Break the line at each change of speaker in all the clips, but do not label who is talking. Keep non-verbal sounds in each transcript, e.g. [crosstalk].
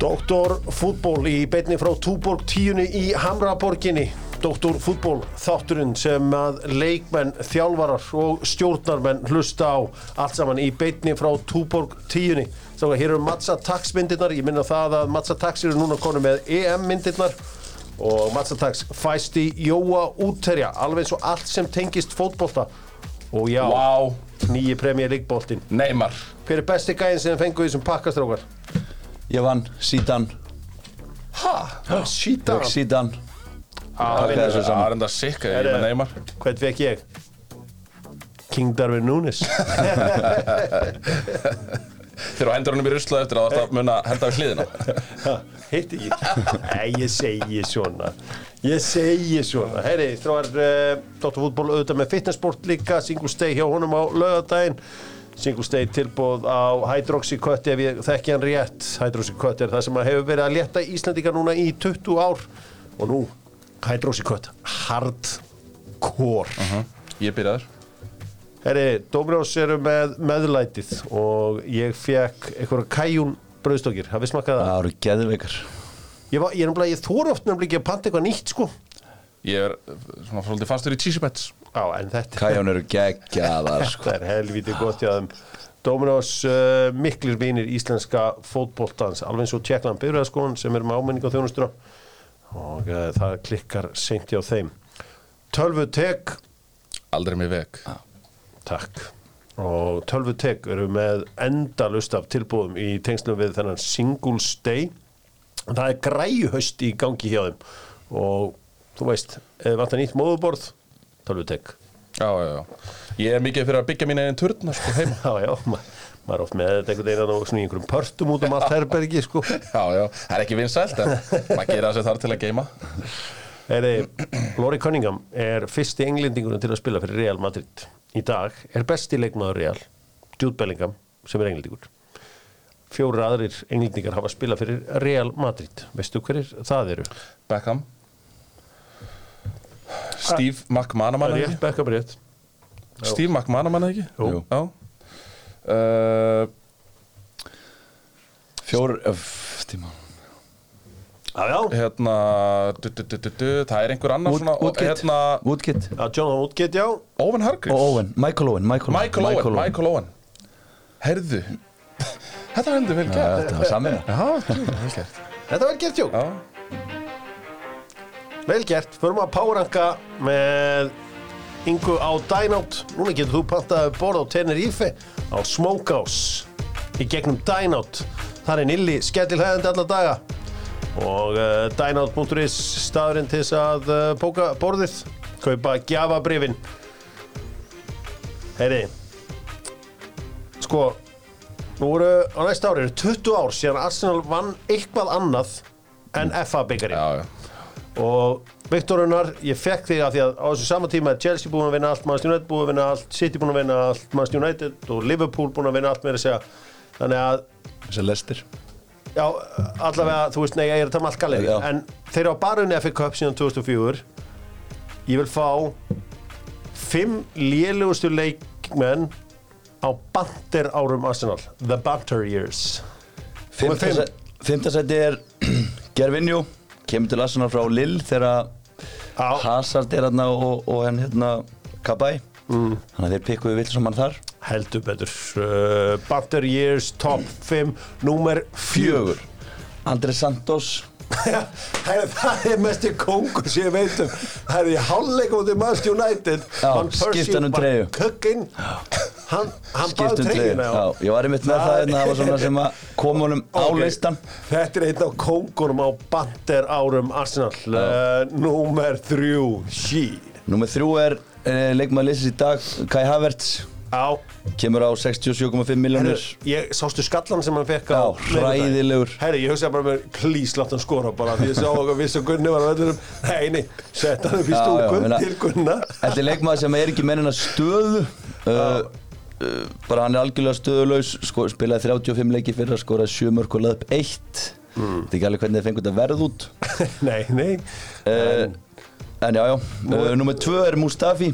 Doktor fútból í beinni frá Túborg 10 í Hamraborginni. Doktor fútból þátturinn sem að leikmenn, þjálfarar og stjórnarmenn hlusta á allt saman í beinni frá Túborg 10. Þannig að hér eru Matsa Tax myndirnar, ég minna það að Matsa Tax eru núna konu með EM myndirnar og Matsa Tax fæst í Jóa útterja, alveg eins og allt sem tengist fótbolta. Og já,
Vá,
nýji premjör líkbóltinn.
Neymar
Hver er besti gæðin sem fengur þessum pakkastrákar?
Ég vann Sítan,
Ha? Sítan?
Sítan
Það
pakkaði þessu saman.
er enda sikk að ég er
Herre.
með Neymar
Hvern fekk ég? King Darwin Nunes
Þegar á hendur honum í rusla eftir að það var að muna henda við hliðina
[laughs] Hitt ekki Nei, ég segi svona Ég segi svona Heyri, þróar uh, Dr. Fútból auðvitað með fitnessport líka Single stay hjá honum á laugardaginn Single stay tilbúð á Hydroxycut ef ég þekki hann rétt Hydroxycut er það sem að hefur verið að létta Íslandika núna í 20 ár og nú Hydroxycut Hardcore
Ég er byrjaður
Herri, Dómrjós eru með meðlætið og ég fekk einhverja kæjún brauðstokkir, hafið smakkað það?
Það eru geðveikar
Ég, var, ég, er nefnilega, ég þóra oft nefnilega ekki að panta eitthvað nýtt sko
Ég er eh, svona svolítið fastur í tísibets
Já, en þetta,
Kæjón eru geggjaðar sko.
þetta er helvítið gott hjá þeim Dómrjós uh, miklir vinir íslenska fótboltans alveg eins og Tjekkland Byrðarskólan sem er með ámenning á þjónustuna og uh, það klikkar seint hjá þeim Tölvu tek
Aldrei mér veg
Takk. Og tölvutek eru með endalust af tilbúðum í tengslum við þennan Singles Day. Það er græjuhaust í gangi hjá þeim og þú veist, ef það vantar nýtt móðuborð, tölvutek.
Já, já, já Ég er mikið fyrir að byggja mín einn turna sko heima
Já, já, ma maður er oft með þetta einhvern veginn og svona í einhverjum pörtum út um allt herbergi, sko.
[laughs] Já, já, það er ekki vinsælt en maður gera það sem þarf til að geima
Heyri, Lori Cunningham er fyrsti englendingurinn til að spila fyrir Real Madrid í dag er besti leikmaður Real Jude Bellingham sem er englendingur fjóru aðrir englendingar hafa spilað fyrir Real Madrid veistu hverjir það eru?
Beckham Steve McManaman eða
Rétt,
ekki?
Beckham rétt
Steve McManaman eða ekki?
Jú.
Já uh,
Fjór öff, tíma.
Já, já,
Hérna du, du, du, du, du, Það er einhver annar
Wood-
svona
Woodgate
Hérna
Woodgate
Já, Jonathan Woodgate, já
Owen
og
Hargreaves
Owen, Michael Owen Michael,
Michael, Owen, Michael Owen Herðu [laughs] Þetta var hendur vel
Ja,
gert
Þetta var samin
Já, vel gert
Þetta var vel gert, jú
Já,
Vel gert, förum að páranga með yngu á Dynout Núna getur þú pantaði borð á Tenerife á Smokehouse í gegnum Dynout Það er nilli skellilhæðandi alla daga og uh, dynout.is staðurinn til þess að uh, bóka borðið kaupa gjafabrifin Heyri Sko Nú eru á næsta ári eru 20 ár síðan Arsenal vann eitthvað annað en FA byggari
já, já
og Viktor Unnar, ég fekk þig að því að á þessu sama tíma er Chelsea búin að vinna allt, Manchester United búin að vinna allt, City búin að vinna allt, Manchester United og Liverpool búin að vinna allt meira að segja. Þannig að,
Þessi lestir
já, allavega, þú veist, nei, ég er að tala með allt galið.
Já.
En þeir eru á barunni FA Cup síðan 2004. Ég vil fá fimm lélugustu leikmenn á bandir árum Arsenal. The Banter Years. Þú er fimm.
Fymtasæti er [clears throat] Gervinju kemur til Arsenal frá Lill þegar
Á,
Hazard er hérna og, og henn hérna Kabay
Mm.
þannig að þeir pikkuðu vill saman þar
heldur betur. Uh, Banter Years, top 5, númer 4.
Fjögur Andri Santos
Herri, það er mestu kongur sem ég veit um Það er í hálfleik út í Manchester United
Já, skipti hann um treyju.
Kökkinn Hann, hann báði
skiptum til
treyjuna
um Já, ég var einmitt með það hérna, það var svona sem að kom honum á
Ok.
listan
Þetta er einn af kongurum á bander árum Arsenal uh, Númer þrjú Hí
Númer þrjú er eh, leikmaður liðsins í dag Kai Havertz
Á
kemur á 67,5 miljónir
ég, Sástu skallan sem hann fekk
Já,
á miðvikudaginn?
hræðilegur.
Herri, ég hugsaði bara með Please, látt hann skora bara Því ég sá okkur viss og Gunni var að veldurum Nei, nei, sett hann upp í
Já, já,
stúkun
meina-
til Gunna [laughs]
Þetta er leikmaður sem er ekki mennina stöðu uh, uh, bara hann er algjörlega stöðulaus sko, spilaði 35 leiki fyrir að skora 7 mörg og laði upp 1
Hmm.
þetta er ekki alveg hvernig þið fengur þetta verð út
Nei, nei
uh, en já, já, uh, nummer 2 er Mustafi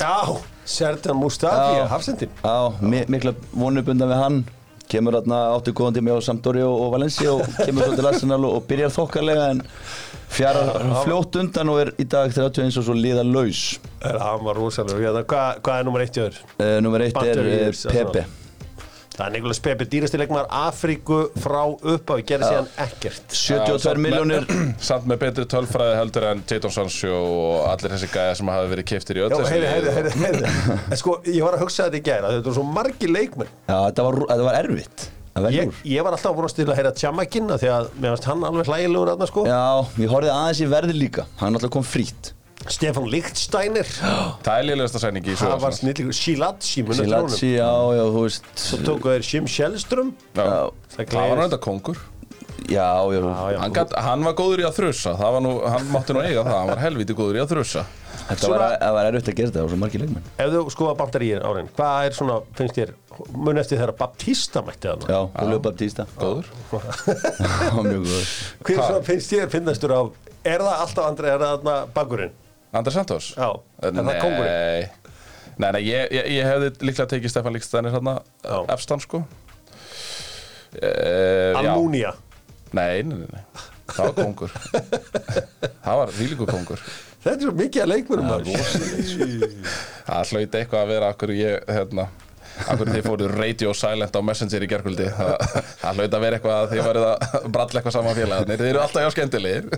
Já, Serdan Mustafi,
Já.
hafsendin
á, mi mikla vonubundan við hann kemur þarna átti góðan tími á Sampdóri og, og Valensi og kemur svo til Arsenal og, og byrjar þokkalega en fjarar fljótt undan og er í dag 31 og svo liða laus
Er, hann var rosalur, hérna, hvað hva er nummer eitt í öður?
uh, Númer eitt er
Battery,
uh,
sem
Pepe
sagt. Það er Nikolas Pepe, dýrasti leikmaður Afríku frá upphafi, gerði síðan ekkert
72 miljónir
[clears throat] Samt með betri tölfræði heldur en Jadon Sancho og allir þessi gæja sem hafa verið keftir í öll
Já,
þessi
heyri,
lið.
heyri, heyri, heyri. En sko, ég var að hugsa þetta í gæra þetta eru svo margi leikmenn
Já, þetta var, þetta var erfitt að velja
ég,
úr
ég var alltaf búin að stila að heyra Tjamakin af því að mér varst hann alveg hlægilegur aðna sko
Já, ég horfið aðeins í verði líka hann náttúrulega kom frýtt
Stefan Lichtsteiner
Það er lélegasta sæningi í
það var
svo
snillíkur Shilatsi
Silatsi, já, já, þú veist
svo tóku þeir Jim Shellström
Já,
það
Það var
gleðist.
þetta kongur
já, já,
Já, já.
hann, gat, hann var góður í að þrussa Það var nú, hann mátti nú eiga það Hann var helviti góður í að þrussa
Þetta var,
Svona-
það var erfitt að gera þetta, það var svo margir leikmenn
ef þú skoða bandaríin árin hvað er svona, finnst þér, mun eftir þeirra Baptista mætti þarna
Já, og löpa upp tísta
Góður
Já, mjög góður
hver svona finnst þér finnastur á er það alltaf andri, er það þarna bakurinn
Andri Santos?
Já. Er það
Eh,
kóngurinn?
Nei, nei, nei ég, ég, ég hefði líklega tekið Stefan Líkstænir hérna
Já.
Efstan sko e,
Almúnia
Nei, nei, nei, nei Það var kongur
[laughs]
Það var þvílíku kongur
þetta er svo mikið að leikmennum maður.
Það hlaut eitthvað að vera akkur ég hérna Akkur þið fóruð radio silent á Messenger í gerkvöldi Það það hlaut að vera eitthvað að þið varuð að bralla eitthvað saman félagarnir Þið eru alltaf hjá skemmtilegir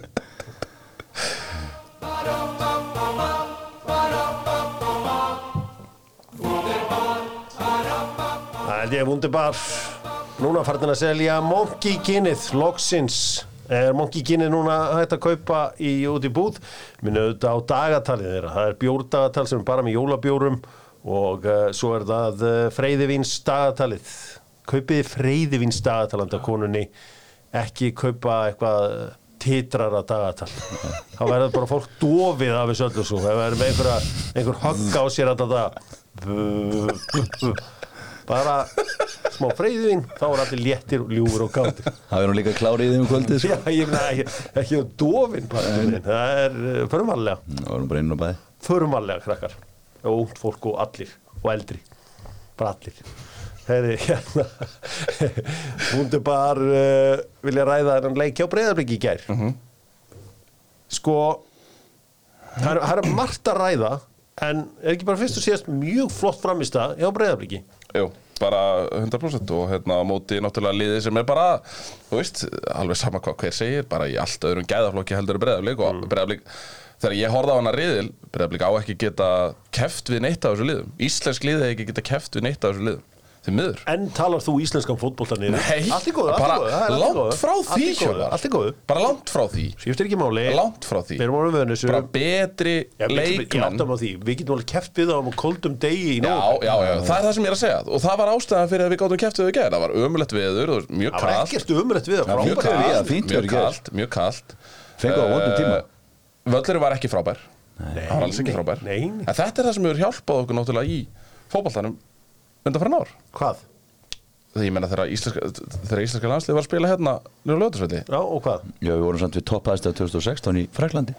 það held ég vundibar núna farnir að selja Monkey Ginnið loksins er Monkey Ginnið núna hægt að kaupa í, út í búð minn auðvitað á dagatalið þeirra það er bjórdagatal sem er bara með jólabjórum og uh, svo er það uh, freyðivins dagatalið kaupiði freyðivins dagatalanda konunni ekki kaupa eitthvað titrara dagatal þá verður bara fólk dofið af þessu öllu svo ef það er með einhverja, einhver högg á sér að þetta bara smá freyðin þá er allir léttir, ljúfur og gáttir
Það verður nú líka klárið í þeim
[laughs]
kvöldið
já,
sko.
ég meina ekki, ekki að dofin bara, einhvern veginn. það er uh, förumvarlega
Það verður nú bara inn og bæði
förumvarlega krakkar og ungt fólk og allir og eldri bara allir Heyri, hérna, [laughs] hún er bara uh, vilja ræða þennan leik hjá breyðarblik í gær sko það er, það er margt að ræða en er ekki bara fyrst og síðast mjög flott framist hjá breyðarbliki
Jú, bara 100% og hérna á móti náttúrulega liðið sem er bara, þú veist, alveg sama hvað hver segir, bara í allt öðrum gæðaflokki heldur breðaflik og mm. breðaflik, þegar ég horfði á hana riðil, breðaflik á ekki geta keft við neitt af þessu liðum. Íslensk liðið hefði ekki geta keft við neitt af þessu liðum. Þið miður.
En talar þú íslenskan fótbolta niður?
Nei,
allt í góðu, allt í
bara
góðu það er allt í
langt
góðu.
frá því,
Allt í góðu,
Hjálmar.
Allt í góðu,
Bara langt frá því.
skiptir ekki máli
Langt frá því.
Við erum orðum við þessu
Bara betri
Já, við getum- Ég
leikmenn.
áttam á því, við getum alveg keft við það á um koldum degi í
Já,
nóvember.
já, já, það er það sem ég er að segja og það var ástæðan fyrir að við gáttum keftið við gæðir það var ömulegt veður, þú veist, mjög
Það var
kalt
ekkert umrætt við það,
Já, mjög
frábært
kalt.
við
að fínt
mjög
verið í gær.
kalt, mjög kalt
Fengu á vondum tíma.
Eh, Völlurinn var ekki frábær Það var alls ekki
nei,
frábær
nei, nei.
En þetta er það sem hefur hjálpað okkur náttúrulega í fótboltanum undanfæran ár
Hvað?
Þegar ég menna þegar íslenska, þegar íslenska landslið var að spila hérna nýra lögutasvelli
Já, og hvað?
Já, við vorum samt við toppaðist af 2016 í Fraklandi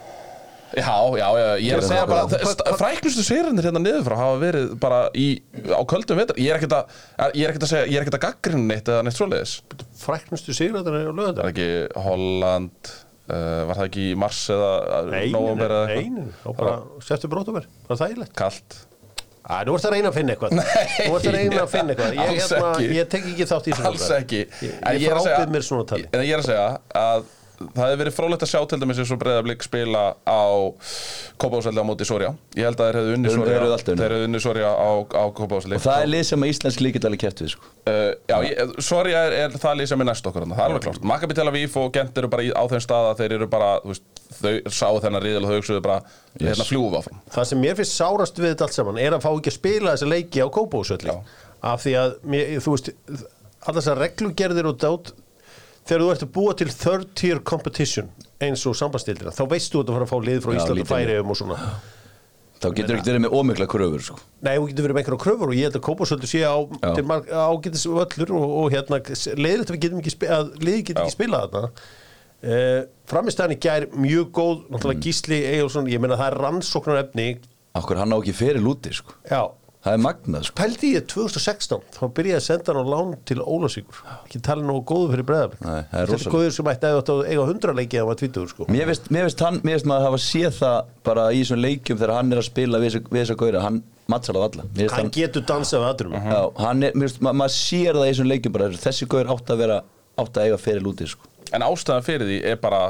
Já, já, já, ég er að
Gerðu
segja
það
bara
bara.
þe- st- Fræknustu sigurinnir hérna niður frá hafa verið bara í, á köldum vetur Ég er ekkert að, ég er ekkert að segja, ég er ekkert að gaggrinu neitt eða neitt svoleiðis
Fræknustu sigræðan er á
Það
lögandar
er ekki Holland uh, Var það ekki í mars eða eh,
Nei,
nóvember eða
nei, nei, þá bara settu brótum er, það er þægilegt
Kalt
Æ, nú ert það að reyna að finna eitthvað Nú ert það að reyna að finna eitthvað Ég,
Alls
hérna,
ekki.
ég tek ekki þátt í þessu
Alls
umræðu.
ekki
Ég,
En
ég,
er að segja-
frábið mér svona tali
En ég er að segja að það hefði verið frólægt að sjá til dæmis eins og breyðablík spila á Kópáðsveldi á móti Soria Ég held að þeir hefðu unni
Þeir-
Soria
þeir hefðu alltaf unnið.
Þeir hefðu unni Soria á, á Kópáðsveldi
Og það er lið sem að Íslensk líkitt alveg kæftu við sko.
Uh, já, ég, sorry er, er það lið sem er næst okkur þarna, það er alveg klart Maccabi Tel Aviv og Gent eru bara í, á þeim stað að þeir eru bara, þú veist, þau sáu þennan riðil og þau hugsuðu bara, yes. hérna fljúum við áfram
það sem mér finnst sárast við þetta allt saman er að fá ekki að spila þessa leiki á kópósölli
Já.
af því að mér, þú veist alltaf þessar reglugerðir og dát þegar þú ert að búa til third tier competition eins og sambandstildina þá veistu þú ert að fara að fá lið frá
Já,
Ísland og
lítið lið.
Færiðum og svona
Þá getur ekki verið með ómikla kröfur sko.
Nei, þú getur verið með einhverja kröfur og ég held að Kópasöldu sé á,
Já.
til marg- á getis völlur og, og hérna, leiðilegt að við getum ekki spila, að liði getur ekki
Já.
spilað þarna. Uh, Framistæðan í gær mjög góð,
Mm.
náttúrulega Gísli Eyjálsson, ég meina það er rannsóknarefni
Akkur hann á ekki fyrir lúti sko.
Já,
það er magnað sko.
Pældi ég 2016, þá byrjaði að senda hann á lán til Ólasíkur Ekki talið nógu góðu fyrir breðablik
Nei, það er
Þetta er
rosalegt.
góður sem ætti að átt að eiga 100 leiki að var 20 sko
Mér veist, mér veist hann, mér veist maður hafa séð það bara í þessum leikjum þegar hann er að spila við þessa- við þessa góra, hann mattsar á alla Mér finnst
Hann getur dansað við aðrum
Já, hann er, mér veist, ma maður sér það í þessum leikjum bara, þessi gauður átt að vera, átt að eiga fyrir lúti, sko.
En ástæðan fyrir því er bara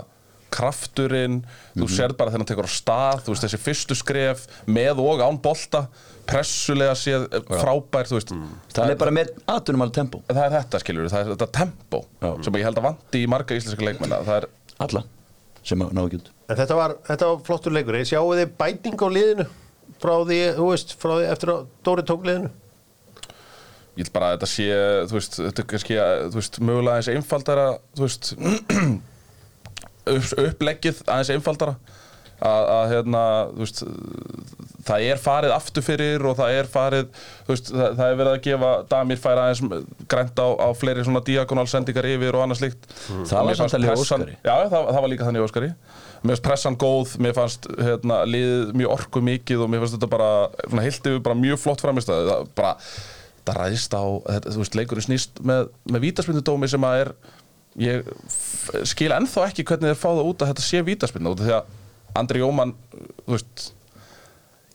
krafturinn, þú
Mhm.
sér bara þegar hann tekur á stað, þú veist þessi fyrstu skref með og án bolta, pressulega séð eh, frábær, þú veist
Mhm. Það er bara með aðtunum alveg tempó,
En það er þetta skilur, það er þetta tempo
Já.
sem ég held að vanti í marga íslenska leikmenn það er,
alla, sem að ná ekki út.
En þetta var, þetta var flottur leikur Ég sjáu þið bæting á liðinu Frá því, þú veist, frá því eftir að Dóri tók liðinu
ég held bara að þetta sé þú veist, þetta er kannski að, þú veist, mögulega aðeins einfaldara þú veist [clears throat] upp, uppleggið aðeins einfaldara að, að hérna, þú veist það er farið aftur fyrir og það er farið, þú veist, það, það er verið að gefa Damir færa aðeins grænt á, á fleiri svona diagonalsendingar yfir og annað slíkt
Mm. Það var
Mér fannst
samt alveg
pressan-
Óskari.
Já, það, það var líka þannig Óskari Mér fannst pressan góð, mér fannst hérna, liðið mjög orku mikið og mér fannst þetta bara svona, heilt yfir bara mjög flott framistæði það bara, það ræðist á þetta, þú veist, leikurinn snýst með, með vítaspindudómi sem að er ég f- skil ennþá ekki hvernig þeir fá það út að þetta sé vítaspindu út af því að Andri Jóman þú veist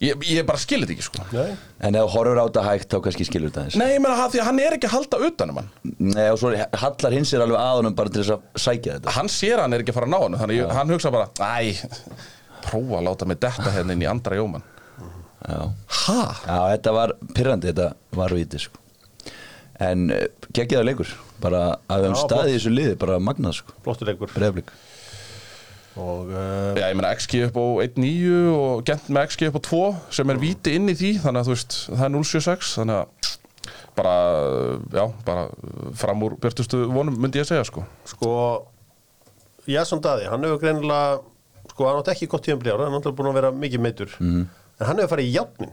ég, ég bara skil þetta ekki sko
Nei
En ef þú horfur á þetta hægt, þá kannski skilur þetta aðeins.
Nei, ég meina það því að hann er ekki að halda utanum hann
Nei, og svo hallar hins er alveg aðunum bara til þess að sækja þetta.
hann sér að hann er ekki að fara að ná hann þannig ég, hann hugsa bara, æ prófa að láta mig detta hérna inn í andra jóman
Já,
ha?
Já þetta var pyrrandi, þetta var víti, sko. En geggið það leikur, bara að við höfum
Já,
staðið í þessu liði, bara magnað, sko,
Flottur leikur
breyflik.
Og uh,
Já, ég meina XG upp á 1.9 og gent með XG upp á 2 sem er víti inn í því, þannig að þú veist það er 0.76, þannig að bara, já, bara fram úr björtustu vonum myndi ég að segja sko
sko Jason Daði, hann hefur greinilega Sko, hann átti ekki gott tíðan bljára Hann er náttúrulega búin að vera mikið meittur
Mhm.
mm. En hann hefur farið í játnin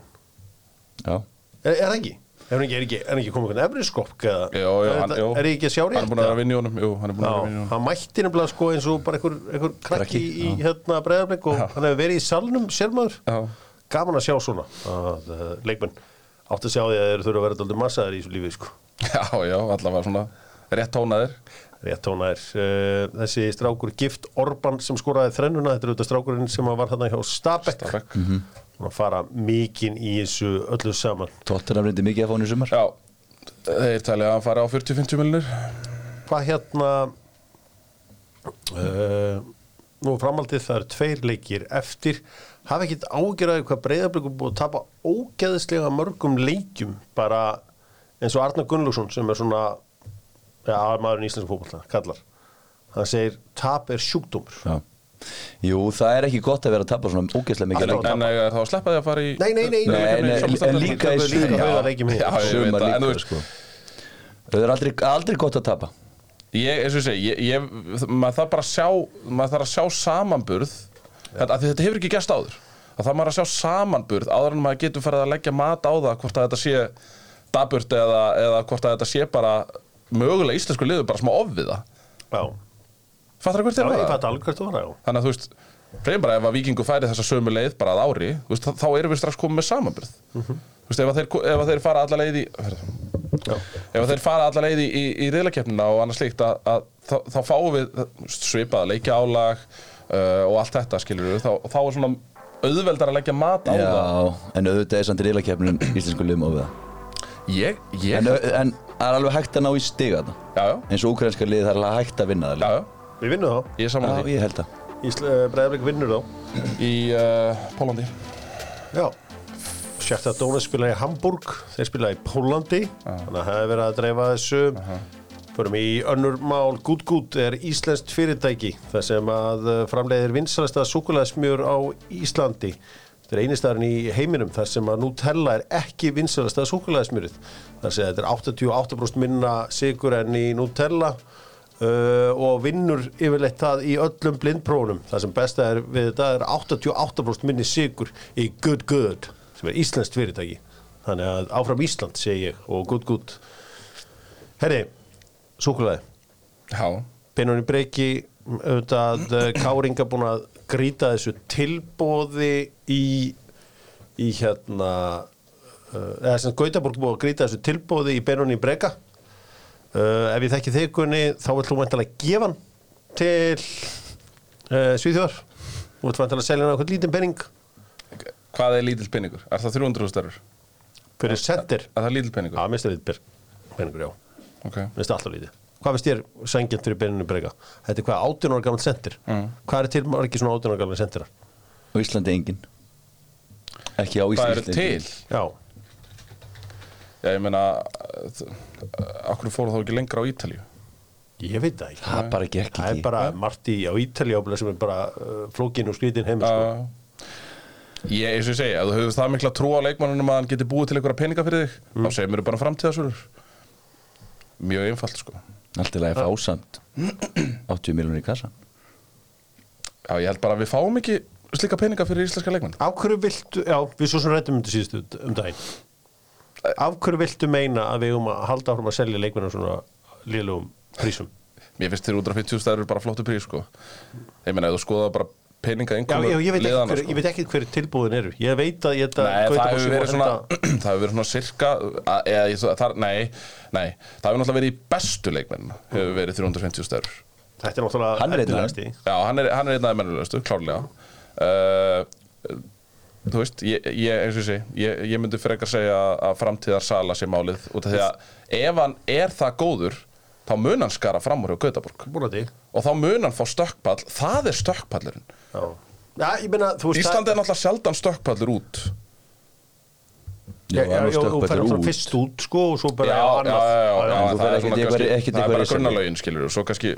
Já.
Er, er það ekki? Er hann ekki, er ekki, er hann ekki komið einhvern efri skokk? eða-
Jó, jó,
er,
hann,
þetta-
jó.
er ég ekki að sjá rétt?
Hann er búin að vera að vinna í honum, jú, hann er búin að vera að vinna í
Já,
honum
hann mætti nefnilega sko eins og bara einhver, einhver krakki
Krakki,
í hérna breyðarblik og hann hefur verið í salnum sérmaður.
Já. [laughs]
Gaman að sjá svona. Að, uh, leikmenn, átt að sjá því að þeir þurfa að vera daldið massaðir í þessu lífi sko.
Já, já, allavega svona rétt tónaðir
Rétt hún er uh, þessi strákur Gift Orban sem skoraði þrennuna, þetta er auðvitað strákurinn sem var þarna hjá Stabæk.
Stabæk.
Hún að fara mikinn í þessu öllu saman.
Tottenham reyndi mikið að fá hann í sumar.
Já, þeir talið að hann fari á 40-50 miljonir
hvað hérna uh, nú er framhaldið það eru tveir leikir eftir hafa ekkit ágjörðið hvað breyðablikum búið að tapa ógeðislega mörgum leikjum bara eins og Arnar Gunnlaugsson sem er svona ja, aðmaðurinn í íslensku fótbolta kallar hann segir tap er sjúkdómur
Já. Jú, það er ekki gott að vera að tapa svona ógeðslega mikið
Alveg.
leik.
En er þá að sleppa því að fara í
Nei, nei, nei,
Nei, nei, en líka í
Líka
sumar.
rauða leikjum hér.
Já, já, ég veit
sumar
það, en þú
líka
veist
sko. Það er aldrei, aldrei gott að tapa
Ég, eins og ég segi, ég, ég, maður þarf bara að sjá, maður þarf að sjá samanburð, þetta, af því þetta hefur ekki gæst áður, að það maður að sjá samanburð áður en maður getur farið að leggja mat á það hvort að þetta sé daburt eða, eða hvort að þetta sé bara mögulega íslensku liður bara smá ofviða.
já,
Fattar það hvert
já
er
ég
það?
fætti alveg hvert þú var já
Þannig að þú veist, reyðum bara ef að vikingu færi þessa sömu leið bara að ári, þú veist, þá- þá erum við strax komið með samanburð. Þú veist, ef að þeir, ef að þeir fara alla leið í, ef að þeir fara alla leið í, í, í riðlakeppnina og annað slíkt að, að þá, þá fáum við þú veist, svipað leikjálag uh, og allt þetta skilur við, þá, þá er svona auðveldar að leggja mat á það.
Já, en auðvitað er samt riðlakeppnin íslensku liðum ofið
Ég,
en,
ég, já,
au- en það er alveg hægt að ná í stiga þarna
uh, já,
eins og ukrainska lið það er alveg hægt að vinna
já,
það líka.
já,
við vinnum þá,
ég er saman
Já,
því
ég held að
breyðablik vinnur þá
í uh, Pólandi.
Já Sjarta Dónes spilaði í Hamburg þeir spilaði í Pólandi þannig að það hefur verið að dreifa þessu Förum í önnur mál Gút Gút er íslenskt fyrirtæki þar sem að uh, framleiðir vinsalasta súkulæðismjör á Íslandi Þetta er einistæðan í heiminum þar sem að Nutella er ekki vinsalasta súkulæðismjörið þar sem þetta er 88% minna sigur enn í Nutella uh, og vinnur yfirleitt það í öllum blindprófunum það sem besta er við þetta er 88% minni sigur í Good Good sem er íslenskt fyrirtæki þannig að áfram Ísland segi ég og Good Good Herri, súkulæði
Já,
Benóni Breki auðvitað eh, Káringa búin að grýta þessu tilbóði í í hérna uh, eða sem Gautaborg búið að grýta þessu tilbúði í Benoni Brega uh, ef ég þekki þig Gunni þá vill þú vantilega gefa hann til uh, Svíþjóðar þú vill vantilega selja hann eitthvað lítinn penning
Hvað er lítill penningur? Er það 300 starur?
fyrir sendir
Er það lítill penningur?
að minnst það lítið penningur já
Ok.
minnst alltaf lítið hvað finnst þér sængjant fyrir Benoni Brega þetta er hvað 18 ára gammal sendir hvað er til margir svona 18 ára gammal sendirar
Á Íslandi engin Ekki á Íslandi
Það eru til.
já
Já, ég meina, okkur fóru þá ekki lengra á Ítalíu?
ég veit það ekki
Það bara gekk
Það er
ekki
bara Marti á Ítali ábúlega sem er bara uh, flókin og skrítin heim sko.
Já. Ah. Ég, eins og ég segja, ef þú hefur það mikla trú á leikmannunum að hann geti búið til einhverja peninga fyrir þig, þá segir mér bara framtíðasölur. Mjög einfalt, sko.
Allt í lagi að fá samt 80 miljonir í kassan
Já, ég held bara að við fáum ekki slíka peninga fyrir íslenska leikmann.
Uh. Af hverju viltu, já, við svo sem rættum um þetta síðustu um daginn Af hverju viltu meina að við um að halda áfram að selja leikmennar svona lélugum prísum?
Mér finnst þér 150 stærður bara flottu prís, sko. Ég meina, ef þú skoða bara peninga
Já, ég,
einhverjum
ég, veit ekki
sko.
hver, ég veit ekki hver tilbúðin eru Ég veit að ég þetta
Nei,
Gauta Bósi
það hefur
má
verið svona,
henda-
[clears throat] það hefur verið svona sirka, að- eða ég, það, nei, nei, það hefur náttúrulega verið í bestu leikmenn, hefur verið 350 stærður.
Þetta er náttúrulega
Hann er einn af
efnilegasti.
Já, hann er, hann er einn af mennulegustu, klárlega uh, Þú veist, ég, ég, eins og ég segi ég, ég myndi frekar segja að framtíðar sala sé málið út af því að ef hann er það góður þá mun hann skara fram úr hjá Gautaborg
Vonandi.
og þá mun hann fá stökkpall það er stökkpallurinn
Já. Já, ég meina, þú veist
Ísland er náttúrulega sjaldan stökkpallur út
Já, já, já, þú
stökkvað
fær
þér
náttúrulega
út.
fyrst út, sko, og svo
Já,
bara
já, já, já, já,
þú
það
ferð
er
ekkert
svona
í eitthvað-
kannski, það
ekkert í
er bara
eitthvað
grunnalögin skilur og svo kannski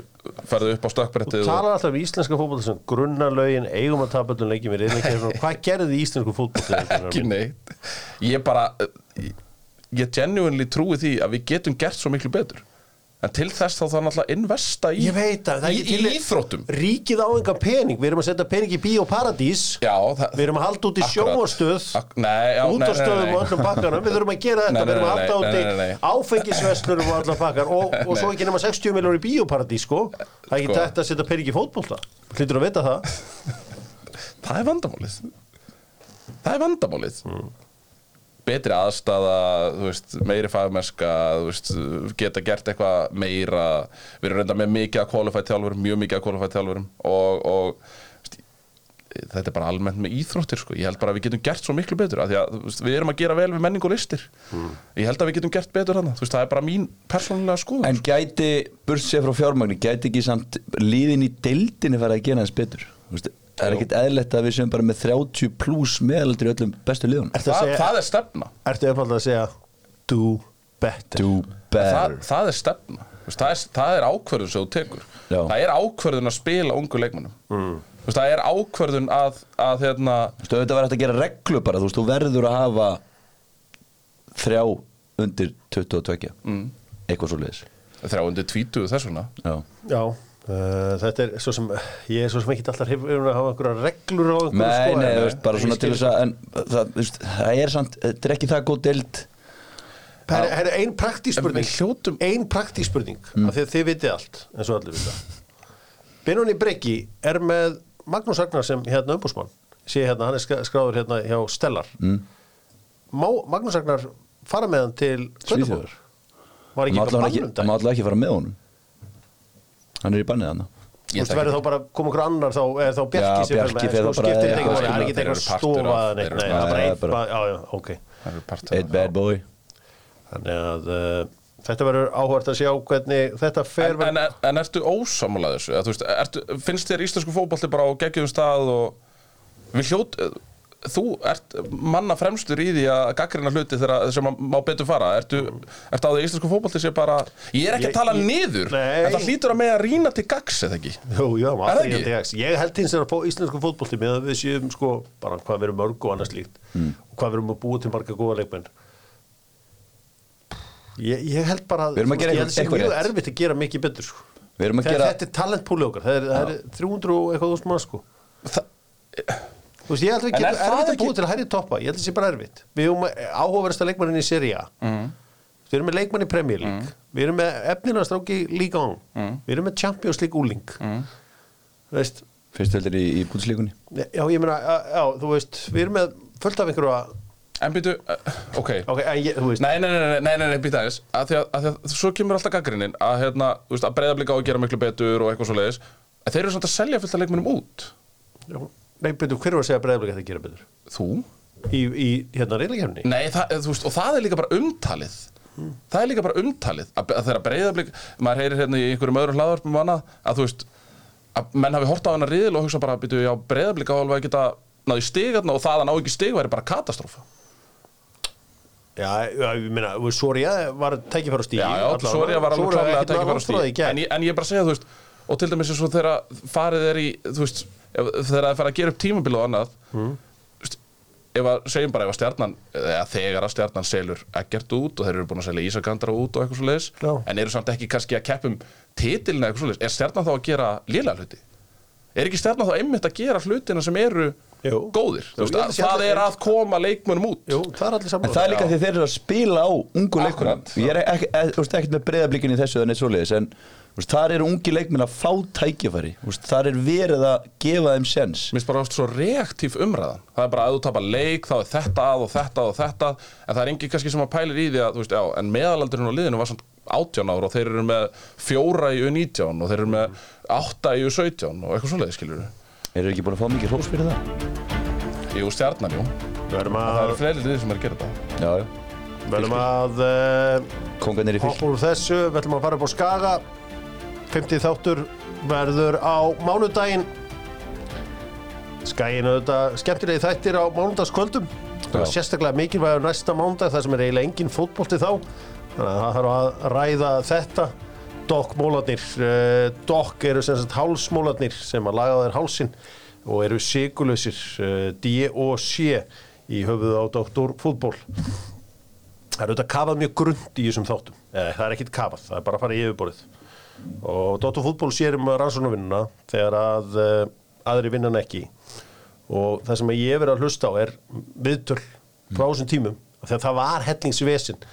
ferðu upp á stökkbrettið og
talar alltaf við íslenska fótbolta sem grunnalögin, eigum að tapa öllum leikjum
[laughs]
við reynum ekki að gera svona. hvað gerði íslensku
ekki
fótbolta
neitt ég bara ég- ég genuinely trúi því að við getum gert svo miklu betur en til þess þá þarf náttúrulega að investa í,
ég veit að það er
í,
ekki
í íþróttum
ríkið á enga pening, við erum að setja pening í bíóparadís
já, það,
við erum að halda út í sjóarstöð
Ak- nei, já, nei, nei, nei,
útastöðum
nei.
og öllum bakkanum við þurfum að gera
Nei,
þetta,
nei,
við erum að
nei,
halda
nei,
út
nei, nei,
í
nei.
áfengisverslurum og allar bakkar og, og svo
Nei.
ekki nema 60 miljónur í bíóparadís sko, það er ekki
Sko.
tætt að setja pening í fótbolta hlýtur að vita
[laughs]
það
það er vandamálið það er vandamálið betri aðstaða þú veist, meiri fagmennska þú veist, geta gert eitthvað meira við erum reynda með mikið að kvalifætt þjálfurum mjög mikið að kvalifætt þjálfurum og, og þú veist, þetta er bara almennt með íþróttir sko. ég held bara að við getum gert svo miklu betur af því að þú veist, við erum að gera vel við menning og listir ég held að við getum gert betur hana veist, það er bara mín persónulega skoðun
En gæti, bursið frá fjármagni Gæti ekki samt liðin í deildinni fara að gera hans betur Þú veist, Það er
Jú.
ekkert eðlilegt að við séum bara með 30 pluss meðaldur í öllum bestu liðun
Ertu að
það,
segja-
það er stefna
ertu uppáldið að segja do better
Do
það,
better
það er stefna Þú veist, það er, það er ákvörðun sem þú tekur
Já.
það er ákvörðun að spila ungu leikmannum mm. það er ákvörðun að, að hérna,
Þú veist, auðvitað var hægt að gera reglu bara Þú veist, þú verður að hafa þrjá undir 22 mm. Eitthvað svo liðis
þrjá undir 20 þess vegna
Já
Já, uh, þetta er svo sem ég er svo sem ekki alltaf hefur að hafa einhverja reglur á einhverju
Nei,
sko,
nei,
en-
þú veist, bara
en
svona
ég
til
skil-
þess að en, það, þú veist, það er samt, þetta er ekki það góð deild
Það er- það er ein praktísk
En
spurning
við hljótum-
Ein praktísk spurning af því að þið vitið allt, eins og allir vita Benóni Breki er með Magnús Agnar sem hérna umbúsmann sé hérna, hann er skra- skráður hérna hjá Stellar mm. Má Magnús Agnar fara með hann til
Svíþjóðar.
Gautaborgar? Var ekki
Má
eitthvað
allavega
bann
ekki,
um dag?
má allavega ekki fara með honum Hann er í bannið hann
Þú veist, verður þá bara kom okkur annar þá er þá
Já,
Bjarki sem
Bjarki
fer með,
fer þá
sko,
bara-
skiptir
já,
þetta ekki máli,
já,
það er ekki
þeir
eitthvað
eru partur af-
stofa
þeir
nei,
eru
nei,
bara-
það er bara
Já,
einn,
bara-
ba- já, já, ok
það eru partur
Eitt
af-
bad boy
Þannig að uh, þetta verður áhvert að sjá hvernig þetta fer
En, en, en, en ertu ósamlega þessu? Eða, þú veist, ertu, finnst þér íslensku fótbolti bara á geggjum stað og við hljót þú ert manna fremstur í því að gaggrina hluti þegar sem að má betur fara ertu, ertu á því að íslensku fótbolti sé bara ég er ekki
Ég-
að tala
ég-
niður
Nei.
en það hlýtur að með að rýna til gags eða ekki
Jú, já, maður
Er það
alltaf
ekki?
ekki að Ég held hins vegar að fá íslensku fótbolti með að við séum sko bara hvað við erum mörg og annað slíkt
Mm.
og hvað við erum að búa til marga góða leikmenn Ég, ég held bara
Við erum að gera
ég held
eitthvað-
sem
eitthvað
mjög
rétt.
erfitt að gera mikið betur sko.
Við erum að
Þe-
gera-
Þetta er talentpúli okkar, það er, það er 300 og eitthvað þúsund mann sko
Þa,
Þú veist, ég held að við
En
getum
er það
erfitt að
ekki-
búa til að hærri toppa, ég held að það sé bara erfitt. Við erum áhugaverðasta leikmannin í Serie A. Við erum með leikmann í Premier League.
Mm.
Við erum með efnilegastráki League On. Við erum með Champions League úling. Mm. Veist,
Fyrst heldur í, í bútislíkunni
já, ég meina, já, þú veist, við erum með fullt af einhverja
En býtu, uh, ok
Ok, en ég, þú veist
Nei, nei, nei, nei, nei, nei, nei býta aðeins að því að, að því að svo kemur alltaf gaggrinnin að, hérna, þú veist, að breyða blika á að gera miklu betur og eitthvað svo leiðis en þeir eru samt að selja fullt af leikmennum út
Nei, betur, hver var að segja breyðablik að það gera betur?
Þú?
Í, í hérna reylingefni?
Nei, það, eh, þú veist, og það er líka bara umtalið það er líka bara umtalið að, að þeirra breyða blika, maður heyrir hérna í einhverjum öðrum hlaðvarpum og annað að þú veist, að menn hafi hort á hana riðil og hugsa bara, býtu, já, breyða blika hálfa að geta náði stigarna og það að ná ekki stig væri bara katastrófa
Já, já, ég meina, Soria var tækifæra stíl
Já, já, Soria var alveg klálega að tekja bara stíð en, ég- en ég er bara að segja, þú veist og til dæmis eins og þegar farið er í þú veist, ef, þegar það er farið að gera upp tímabil og annað mm. veist, ef að segjum bara ef að stjarnan eða þegar að stjarnan selur ekkert út og þeir eru búin að selja Ísakandra út og eitthvað svo leiðis
Já.
en eru samt ekki kannski að keppum titilina eitthvað svo leiðis, er stjarnan þá að gera lélega hluti? Er ekki stjarnan þá einmitt að gera hlutina sem eru
Jú.
góðir?
Jú,
Þú veist,
ég
að,
held að sé
það
allir-
er að koma leikmönum út
Jú, það er allir
En
saman
það er líka
Já.
því þeir eru að spila á ungu leikmenn
Akkurat.
Ég er ekki, e, þú veist, ekkert með breyðablikin í þessu en eitt svoleiðis en þú veist, þar eru ungi leikmenn að fá tækifæri þú veist, Þar er verið að gefa þeim sens
Mér finnst bara oft svo reaktíf umræðan Það er bara að þú tapar leik, þá er þetta að og þetta og þetta að, En það er engin kannski sem að pælir í því að, þú veist, já, En meðalaldurinn á liðinu var samt 18 ára Og þeir eru með fjóra í U19 Og þeir eru með átta í U17 Og eitthvað svoleiði, skilur við
Eru ekki búin að fá mikið hrós fyrir það?
Jú, stjarnan, jú
Við verðum
Það
að,
eru fleiri liðið sem er að gera þetta
Já, já,
við verðum að uh,
kongan er í fylg
hoppa úr þessu, við ætlum að fara upp á Skaga 50 þáttur verður á mánudaginn Skaginn auðvitað skemmtilegi þættir á mánudagskvöldum Það er
Já.
sérstaklega mikilvægur næsta mánudag þar sem er eiginlega engin fótbolti þá þannig að það þarf að ræða þetta dokkmólarnir Eh, dokk eru sem sagt hálsmólarnir sem að laga þær hálsin og eru sigurlausir eh, D og C í höfuðu á doktor fútból það er auðvitað kafað mjög grund í þessum þáttum eh, það er ekkit kafað, það er bara að fara í yfirborðið og Dóttur fútból sér um rannsóknarvinnuna þegar að eh, aðri vinnan ekki og það sem ég hef verið að hlusta á er viðtöl frá þessum tímum af því að það var hellingsvesin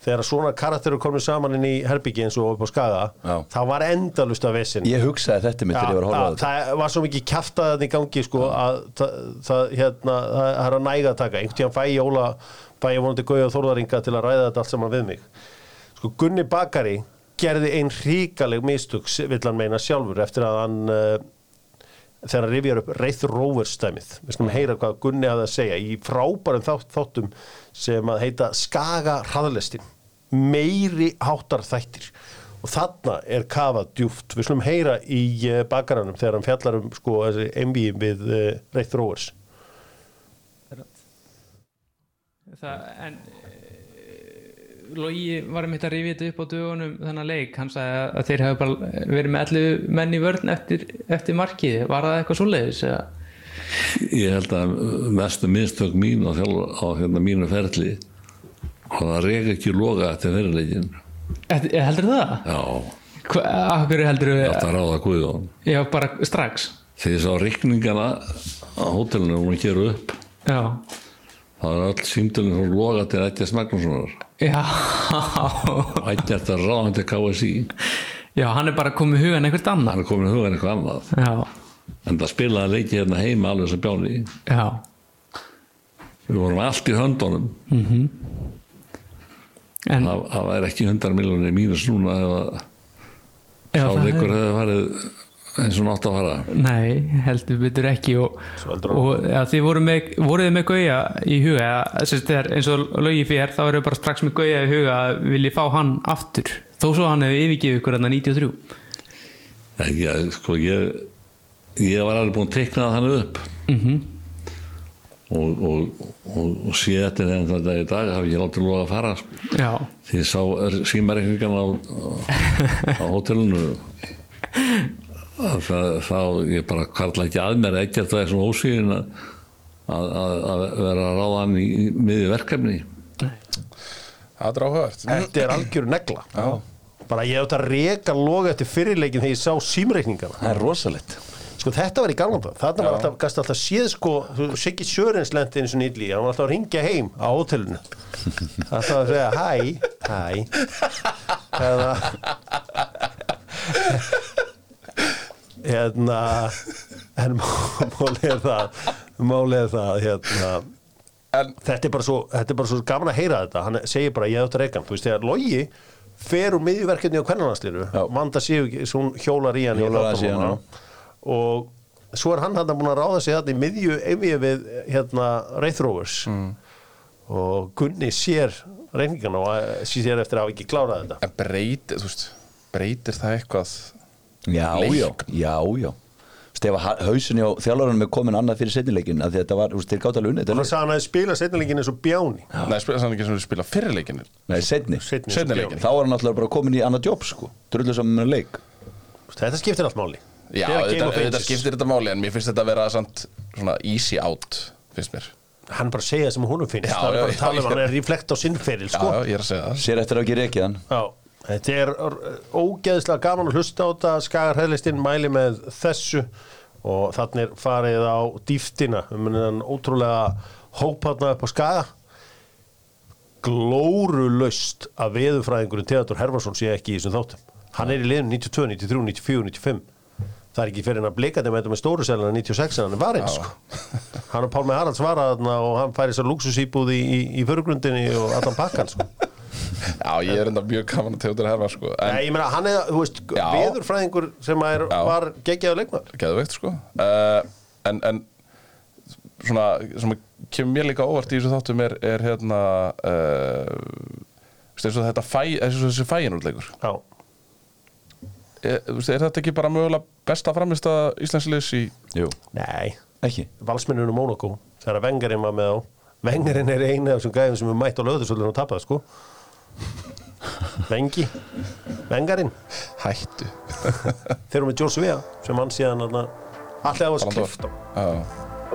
þegar svona karakterur komið saman inn í herbyggi eins og upp á skaga
Já.
það var endalusta vesin
Ég hugsaði þetta mitt þegar ég var að horfa á þetta
það var svo mikið kjaftaðan í gangi sko, að það, það, hérna, það það er að næga að taka einhvern tíðan fæ ég Óla fæ ég vonandi Gauja Þórðaringa til að ræða þetta allt saman við mig sko, Gunni Bakari gerði ein ríkaleg mistug vill hann meina sjálfur eftir að hann uh, þegar hann rifjar upp Wraith Rovers dæmið við skulum heyra hvað Gunni hafði að segja í frábærum þátt, þáttum sem að heita Skaga hraðlestin meiri háttar þættir og þarna er kafað djúft við skulum heyra í eh, bakaranum þegar hann fjallar um sko þessi MV við uh, Wraith Rovers
Það, en eh, Logi var um að rifja þetta upp á dögunum þennan leik, hann sagði að- að þeir hafi bara verið með allu menn í vörn eftir, eftir markið, var það eitthvað svoleiðis eða?
ég held að mestu mistök mín á, þjálf, á hérna mínu ferli og það reyk ekki loga eftir fyrirleikin
Eftir- eh, heldur það?
já,
Hva, af hverju heldur við?
þetta ráða Guðjón
Já, bara strax
þegar ég sá rikningana á hótelinu hún að gera upp
Já,
það er öll símtölinn frá loga til Ættjars Magnússonar
já
Ættjart er ráðandi KSI
[laughs] Já, hann er bara komið í hugan einhvert annar
hann er komin í hugan eitthvað annað
Já,
en það spilaði leiki hérna heima alveg sem bjáni
já
við vorum allt í höndunum
Mm. En,
það, það væri ekki 100 miljonir mínus núna ef að
já,
þá
það
leikur hefði farið eins og nátt að fara
Nei, heldur betur ekki og,
Svo heldur hann.
og ja, þið voru með, voruð þið með gauja í huga eða, sem sagt, þegar, eins og lögi fyrir þá eru bara strax með gauja í huga að vilji fá hann aftur þó svo hann hefur yfirgefið ykkur hann 93
En ég, sko, ég, ég var alveg búinn að teikna þannig upp og, og, og, og sé þetta en þannig dag í dag hafi ég látið loga að fara sko.
Já,
því ég sá símareikningan á, á hótelinu að það, þá ég bara karla ekki að mér ekkert það er svona ósýðin að, að, að, að vera að ráða hann í, í miðju verkefni
Það er áhugavert Mm,
þetta er algjör negla bara ég átt að reka loga eftir fyrirleikin þegar ég sá símreikningana
Það er rosalegt
sko þetta var í galan það, þarna var alltaf, gasta alltaf séð sko, þú- Siggi Sjörens lendi eins og nýtli hann var alltaf að ringja heim á hótelinu alltaf að segja hæ, hæ eða hérna en málið er það málið er það hérna
en
þetta er bara svo, þetta er bara svo gaman að heyra þetta hann segir bara ég átt að reykan þú veist þegar Logi fer úr miðjverkefni á kvennarlandsliru
Já.
Vanda Sigur, svo hún hjólar í hann í
Hjólar aðeins í
þáttunum
hann,
hana. og svo er hann hann búin að ráða sig þarna í miðju einvið við hérna Reyþróvers
Mm.
og Gunni sér reyningana og eh, sér eftir að hafa ekki klárað þetta
en breytir, þú veist, breytir það eitthvað
Já, já,
Leikn.
já, já Stefa hausin hjá þjálfarunum er komin annað fyrir setnileikin að þetta var, þú veist, þeir gátt alveg unni þetta
og
er
hann sagði hann að spila setnilegin eins og bjáni
Nei, spila, það er ekki sem við spila fyrirleikinir
Nei, setni
Seinni eins og
Seinni
bjáni.
leikinn.
Þá var hann alltaf bara komin í annað jobb, sko Drullu saman með leik
þetta skiptir allt máli
Já,
Þetta er Game
þetta,
of
þetta
Ages.
skiptir þetta máli en mér finnst þetta að vera samt svona easy out finnst mér
hann er bara að segja það sem húnum finnst
Já,
það er
já,
bara að tala um
já, já.
hann er reflekt á sinnferil
Já,
sko.
já, ég er að segja það
Sér eftir að ekki rekið hann
Já, þetta er ógeðslega gaman að hlusta á þetta skagar hreðlistinn mæli með þessu og þannig er farið á dýftina um hennan ótrúlega hópaðna upp á skaga glórulaust að veðufræðingurinn Theodor Herfarsson sé ekki í þessum þáttum hann er í liðinu 92, 93, 94, 95 það er ekki fyrir hann að blika þeim þetta með stóru selina 96 en hann var eins sko. hann og Pálmi Haralds var að og hann færi sér luxusýbúð í, í, í förgrundinni og allan pakkan sko.
Já, ég er enda mjög gaman að tegja herfa sko
Nei,
En
ég meina, hann er, þú veist,
Já.
veðurfræðingur sem er,
Já.
var geggjaður leikmaður.
geðveikt sko uh, en, en svona sem kemur mér líka á óvart í þessu þáttum er, er hérna uh, veist, eins og þetta fæ, eins og þessi fæinúrleikur
Já.
er, þú veist, er þetta ekki bara mögulega besta framist að Íslandsliðs í
Jú
Nei,
Ekki
valsmennunum Mónakó, þegar vengarinn var með á. Vengarinn er eina af þessum gæðum sem er mætt á löðursvöldinu og tapað, sko. Vengi, vengarinn.
hættu
Þeir eru með George Vea, sem hann síðan hann alltaf að var skrift á.
Já.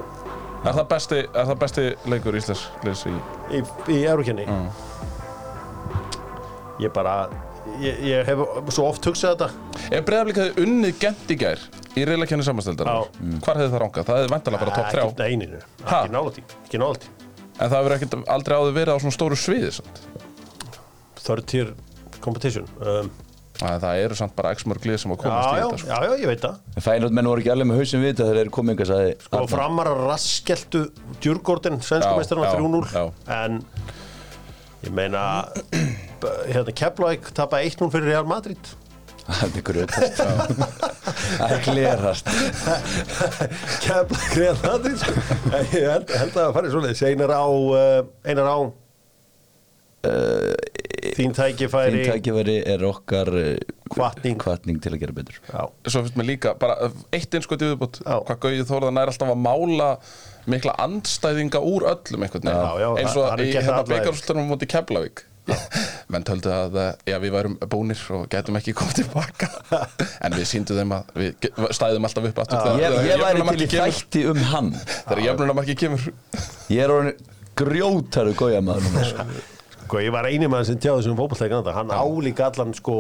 Er það besti, er það besti leikur Íslandsliðs í
í, í Eurókenni
Mm.
Ég bara, ég, ég hef svo oft hugsað þetta.
Ef Breiðablík hefði unnið gent í gær í reylakjönni samanstildar
Já.
hvar hefði það rangað? Það hefði vantilega bara
Ekki-
topp 3
Nei, neinu,
Ha?
ekki nálægt í, ekki nálægt í.
en það hefur ekkert aldrei áður verið á svona stóru sviði samt.
Third tier competition. Um,
Æ, Það eru samt bara x-mörg lið sem að komast
Já,
í
já,
þetta sko.
já, já, ég veit það
Fænótt menn voru ekki alveg með hausin við þetta þegar þeir komið engas að
og framar að raskeltu djurgórdin,
Já,
svenskumeistarna
já,
3-0
já.
en ég meina b- hérna Keflavík tapa 1-0 fyrir Real Madrid
[laughs]
[laughs]
Þetta er grötast Það er glerast
Keflavík Real Madrid sko. ég held, held að það fari svoleiðis einar á, uh, einar á
Eh,
þín tækifæri
Þín tækifæri er okkar
Hvatning.
Kvatning til að gera betur
Já,
Svo finnst mér líka, bara eh, eitt einskotið viðbútt
Já.
hvað Gauði Þórðan er alltaf að mála mikla andstæðinga úr öllum einhvern
Já, já,
veginn, eins og
hann er
í
gert
hérna
alla þeir.
beikarústunum móti Keflavík [laughs] menn töldu að eh, já, við værum búnir og gætum ekki komið tilbaka en við síndum þeim að við ge- stæðum alltaf upp aftur þegar-
Ég,
þegar
ég væri
jöfnunarmarkið kemur.
til í þætti um hann
Þegar jöfnunamarki kemur
Ég er orðin grjótaru gója maður núna, sko.
Sko, ég var eini maður sem tjáði þessum fótbolltækina þetta, hann álíka allan sko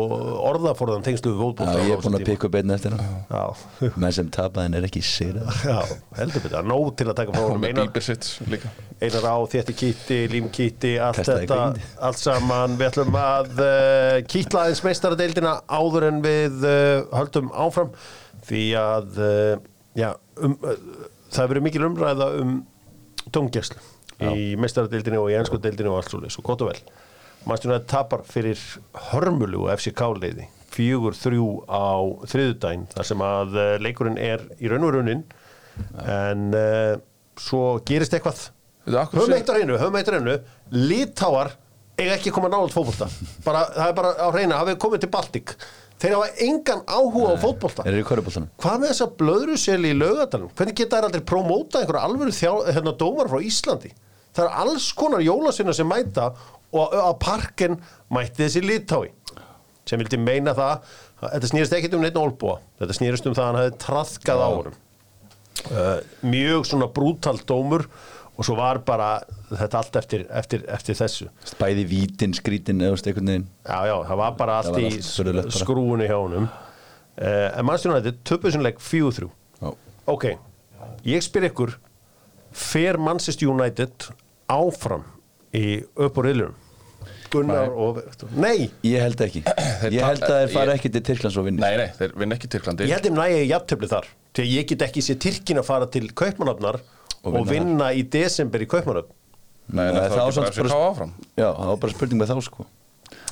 orðaforðan tengstu við
Já,
fótbolltækina
Ég er búin að pikka upp einn eftir hann
Já,
Menn sem tapaðin er ekki sýra
já, heldur betur, nóg til að taka frá
og
honum
með
einar,
bíbir sitt líka
einar á, þétti kýtti, límkýtti, allt
Kastaði
þetta,
gríndi.
allt saman, við ætlum að uh, kýtla aðeins meistaradeildina áður en við uh, höldum áfram, því að, uh, já, um, uh, það hefur verið mikil umræða um tóngjæslu í meistaradeildinu og í ennskodeildinu og allt svo og gott og vel. Manstu að tapar fyrir hörmulu og FCK-leiði, fjögur þrjú á þriðudaginn, þar sem að eh, leikurinn er í raunverunin, en uh, svo gerist eitthvað
Veitu, af hverju
höfum
segir-
eitt á reynu, höfum eitt á reynu litáar eiga ekki að koma nálaðt fótbolta bara, það er bara á reyna, hafið komið til Baltic þeir hafa engan áhuga á fótbolta
Er í körubóltanum
hvað með þessa blöðruseli í laugadalum hvernig geta þær aldrei promóta einhverja alvöru þjá, hérna, dómar frá Íslandi það er alls konar jólasina sem mæta og á parkinn mætti þessi litái sem vildi meina það þetta snýrist ekkit um neitt nólbúa þetta snýrist um það að hann hefði traðkað á honum uh, mjög svona brútal dómur og svo var bara þetta allt eftir, eftir, eftir þessu
bæði vítin, skrítin eða þú veist, einhvern veginn
Já, já, það var bara allt
var
í
allt furðulegt bara.
skrúinu hjá honum uh, En mannstjónu þetta, töpuðsynleik 4-3
Já.
Ok, ég spyr ykkur Fer Manchester United áfram í upp og riðlurum? Gunnar og... Nei,
ég held ekki ég held að [clears throat] þeir fara ekki til Tyrklands og vinni
Nei, nei, þeir vinna ekki Tyrklandi
ég held þeim nægja í jafntöfli þar Þegar ég get ekki séð Tyrkin að fara til Kaupmannafnar og,
vinna
vinna í desember í Kaupmannafn
Nei, en
Nei,
það er
þá
ekki bara
samt
FCK
bara-
áfram
Já, það var bara spurning með þá sko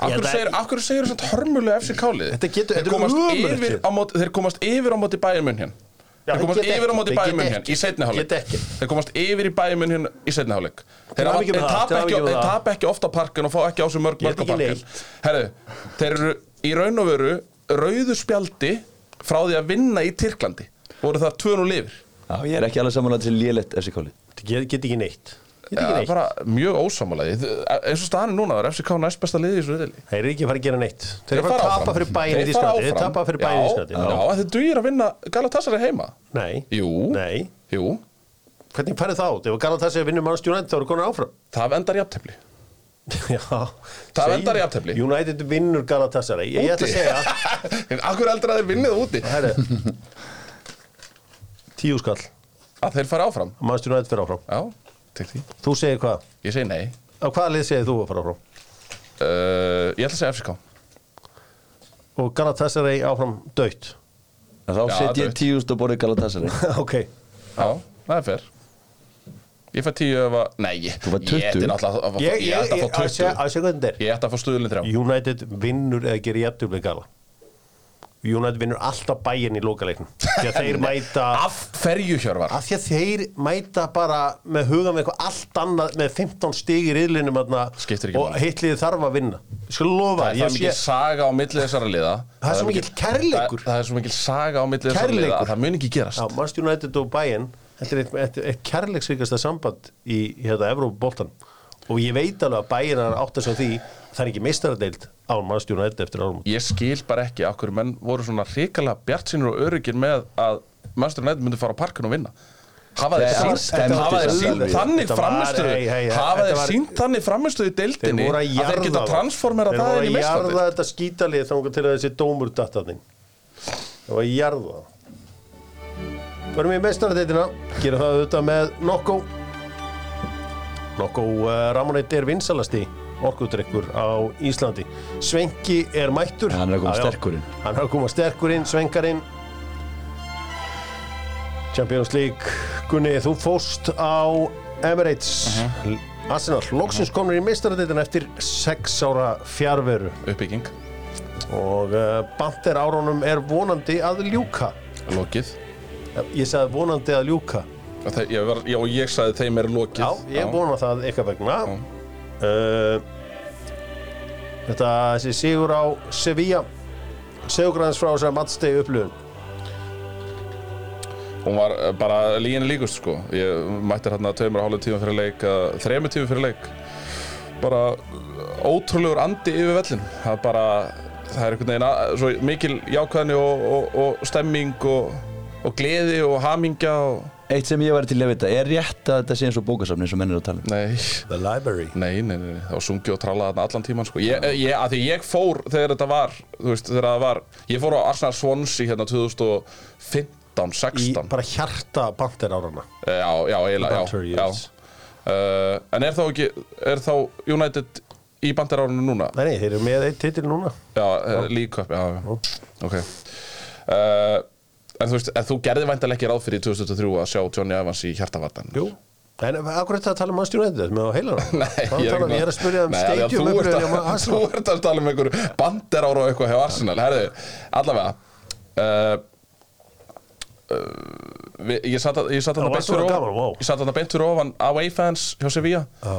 Akkur segir, akkur segir þess að hörmulega FCK lið
Þetta getur-
Þeir
þetta er
komast
ömurlegt
yfir
lið.
á móti- Þeir komast yfir á móti Bayern München
Já,
Þeir
þeir
komast
geta
yfir á
ekki,
móti
þeir
Bayern
geta
München
ekki,
í seinni hálfleik
geta ekki.
Þeir komast yfir í Bayern München í seinni hálfleik Þeir hafa-
hamingju með
þeir
það, til
tapa ekki-
hamingju með
þeir
það.
tapa ekki ofta parkin og fá ekki á sig mörg
Geta
mörg á
ekki
parkin
neitt.
Herru, þeir eru í raun og veru rauðu spjaldi frá því að vinna í Tyrklandi voru það 2-0 yfir
Já, ég er ekki alveg samanlega til lélegt FCK lið
Þetta get, get ekki neitt Get ekki
Það er
neitt
bara mjög ósamalegi eins og staðan er núna er FCK næst besta liði í svo reyðli
Þeir eru ekki að fara að gera neitt Þeir eru að fara að tapa fyrir bæni í skandi Þeir tapa fyrir bæni í skandi
Já, já þeir dugir að vinna Galatasaray heima
Nei
Jú,
Nei
jú
Hvernig færðu það út? Ef Galatasaray vinnur Man United þá eru konar áfram
Það
[laughs]
endar jafntefli
Já
Það
Segir-
endar í jafntefli.
United vinnur Galatasaray Ég, ég ætla að segja
segja Akkur eldur að þeir vinnið úti
Herri Tíu skall
Að þeir fara áfram
Man United fyrir áfram
Já, til því
Þú segir hvað?
Ég segi nei
Á hvaða lið segir þú að fara áfram?
uh, Ég ætla að segja FCK
Og Galatasaray áfram döitt
En Þá
Já,
set
það
ég
veit.
tíust og borði Galatasaray
Ok
Já, það er fer Ég fæ tíu ef að Nei, ég
Þú fær 20.
Ég ætti náttúrulega að fá-
Ég, ég,
ég ætti
ég,
að
að
fá
segja
20
að segja hvernig þetta er
Ég ætti að fá stuðlinn þrjá
United vinnur eða gerir jafntefli gala United vinnur alltaf bæinn í lokaleiknum því að þeir mæta
Af ferju hjörvar
af því að þeir mæta bara með hugan með eitthvað allt annað með 15 stig í riðlinum aðna,
Skiptir ekki
og
máli.
hitliði þarf að vinna Ég skal lofa,
Það er það
ég
mikil
sé
saga á milli þessara liða
Það er svo
mikil-
mikill kærleikur.
Það, það er svo mikil saga á milli þessara liða
Kærleikur.
að það mun ekki gerast
á Manchester United og bæinn þetta er eitt, eitt, eitt kærleiksvíkasta samband í hérna Evrópubóltan og ég veit alveg að bæinn er átt að því það er ekki meistaradeild á Manchester United eftir árum
Ég skil bara ekki af hverju menn voru svona hrikalega bjartsinir og öryggir með að Manchester United myndi fara á parkinu og vinna Hafa þeir
Þetta var-
sýnt-
þetta
hafa
var-
þeir sínt
þetta var-
þannig
þetta var-
framistuðu
hey, hey, hey,
hafa
þetta
þeir
var-
sínt þannig framistuðu í deildinni
voru
að þeir geta
það.
transformera
Þeir
það inn
voru
í
að
meistandi
jarða þetta skítalið þangar til að þessi dómur dattaðin Þeir voru að jarða það Förum við í meistaradeildina Gera það auðvitað með Nokko Nokko uh, Ramoneit er vinsalasti orkudrykkur á Íslandi Svenki er mættur
Hann er að koma
Já, já.
sterkur inn.
Hann er að koma sterkurinn, svenkarinn Champions League Gunni, þú fóst á Emirates
Uh-huh.
Arsenal, loksins komnir í meistaradeildin eftir sex ára fjárveru
Uppbygging,
og uh, bandir árunum er vonandi að ljúka
lokið
Já, ég sagði vonandi að ljúka
Og þeir- ég var- já, og ég sagði þeim er lokið
já, ég vona það eitthvað vegna uh, þetta þessi sigur á Sevilla segugræðins frá þess að matstegi upplöfun
Hún var eh, bara líginni líkust sko Ég mætti hérna tveimur og hálfum tíma fyrir leik eh, Þremur tíma fyrir leik Bara eh, ótrúlegur andi yfir vellin Það er bara Það er einhvern veginn að, svo mikil jákvæðni og, og, og stemming og, og gleði og hamingja og...
Eitt sem ég væri til að vita, er rétt að þetta sé eins og bókasafni eins og menn er að tala um?
Nei,
The Library
nei, nei, nei, það var sungið og trallað þarna allan tíman sko ég, eh, ég, að Því ég fór þegar þetta var, þú veist, þegar það var Ég fór á Arsenal Swansea hérna 2015,
í
16
bara hjarta bandir árunna
Eh, Já, já, eiginlega, já,
Butter,
já.
yes.
Uh, En er þá ekki, er þá United í bandarárunum núna?
nei, nei, þeir eru með eitt titil núna
Já, uh, League Cup, já, já Ok uh, En þú veist, en þú gerði væntalega ekki ráð fyrir í 2003 að sjá Johnny Evans í hjartavartan
Jú, en akkur þetta að tala um Manchester United með á heilan
[laughs] Nei,
ég,
ekki
ég er að spyrja um
Nei, af því að
stadium
þú ert að-
upplöðin á
[laughs] Þú
Arsenal
ert að tala um einhver banderár og eitthvað hjá Arsenal Herðu, allavega uh, uh, við- Ég satt að ég satt
Já,
þarna beint
varst þú
fyrir
að
ofan-
gaman, vá.
Ég satt að beint fyrir ofan away fans hjá Sevilla
Já.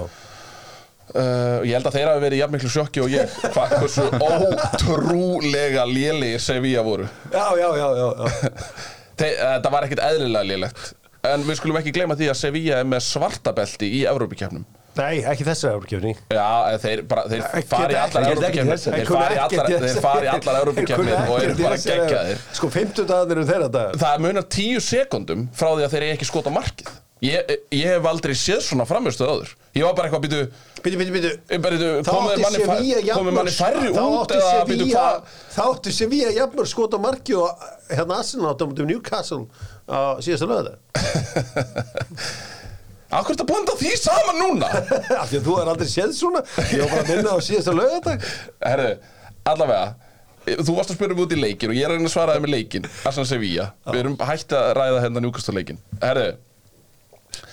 Uh, ég held að þeir hafi verið jafn miklu sjokki og ég hvað hversu ótrúlega lélegir Sevilla voru
já, já, já, já, já.
[laughs] Þe, uh, það var ekkert eðlilega lélegt en við skulum ekki gleyma því að Sevilla er með svartabelti í Evrópikefnum
Nei, ekki þessar Evrópukefni
Já, en þeir, bara, þeir fari í allar
ekkert ekki
Evrópikefnir
þessa.
þeir fari í allar, þeir fari í allar Evrópikefnir og eru bara geggjaðir
Sko, 50 dagarnir um þeirra dag
það munar tíu sekundum frá því að þeir eru ekki skota markið ég, eh, ég hef aldrei séð svona framistuð áður ég var bara eitthvað býtu
Býtu, býtu, býtu Þá
komið
átti
manni, fær,
Sevilla
komið manni færri
Þá
út
átti
eða býtu
Sevilla
hvað
Þá átti Sevilla jafnmörg skot á marki og hérna Arsenal átti á mótum Newcastle á síðasta löða
Akkur ertu að blanda því saman núna?
[laughs] Af því að þú er aldrei séð svona Ég var bara að minna á síðasta löða
Herðu, allavega Þú varst að spyrja mig út í leikin og ég er að reyna að svara þér með leikin Arsenal Sevilla Við erum hægt að ræða hérna njúkastar leikin Herðu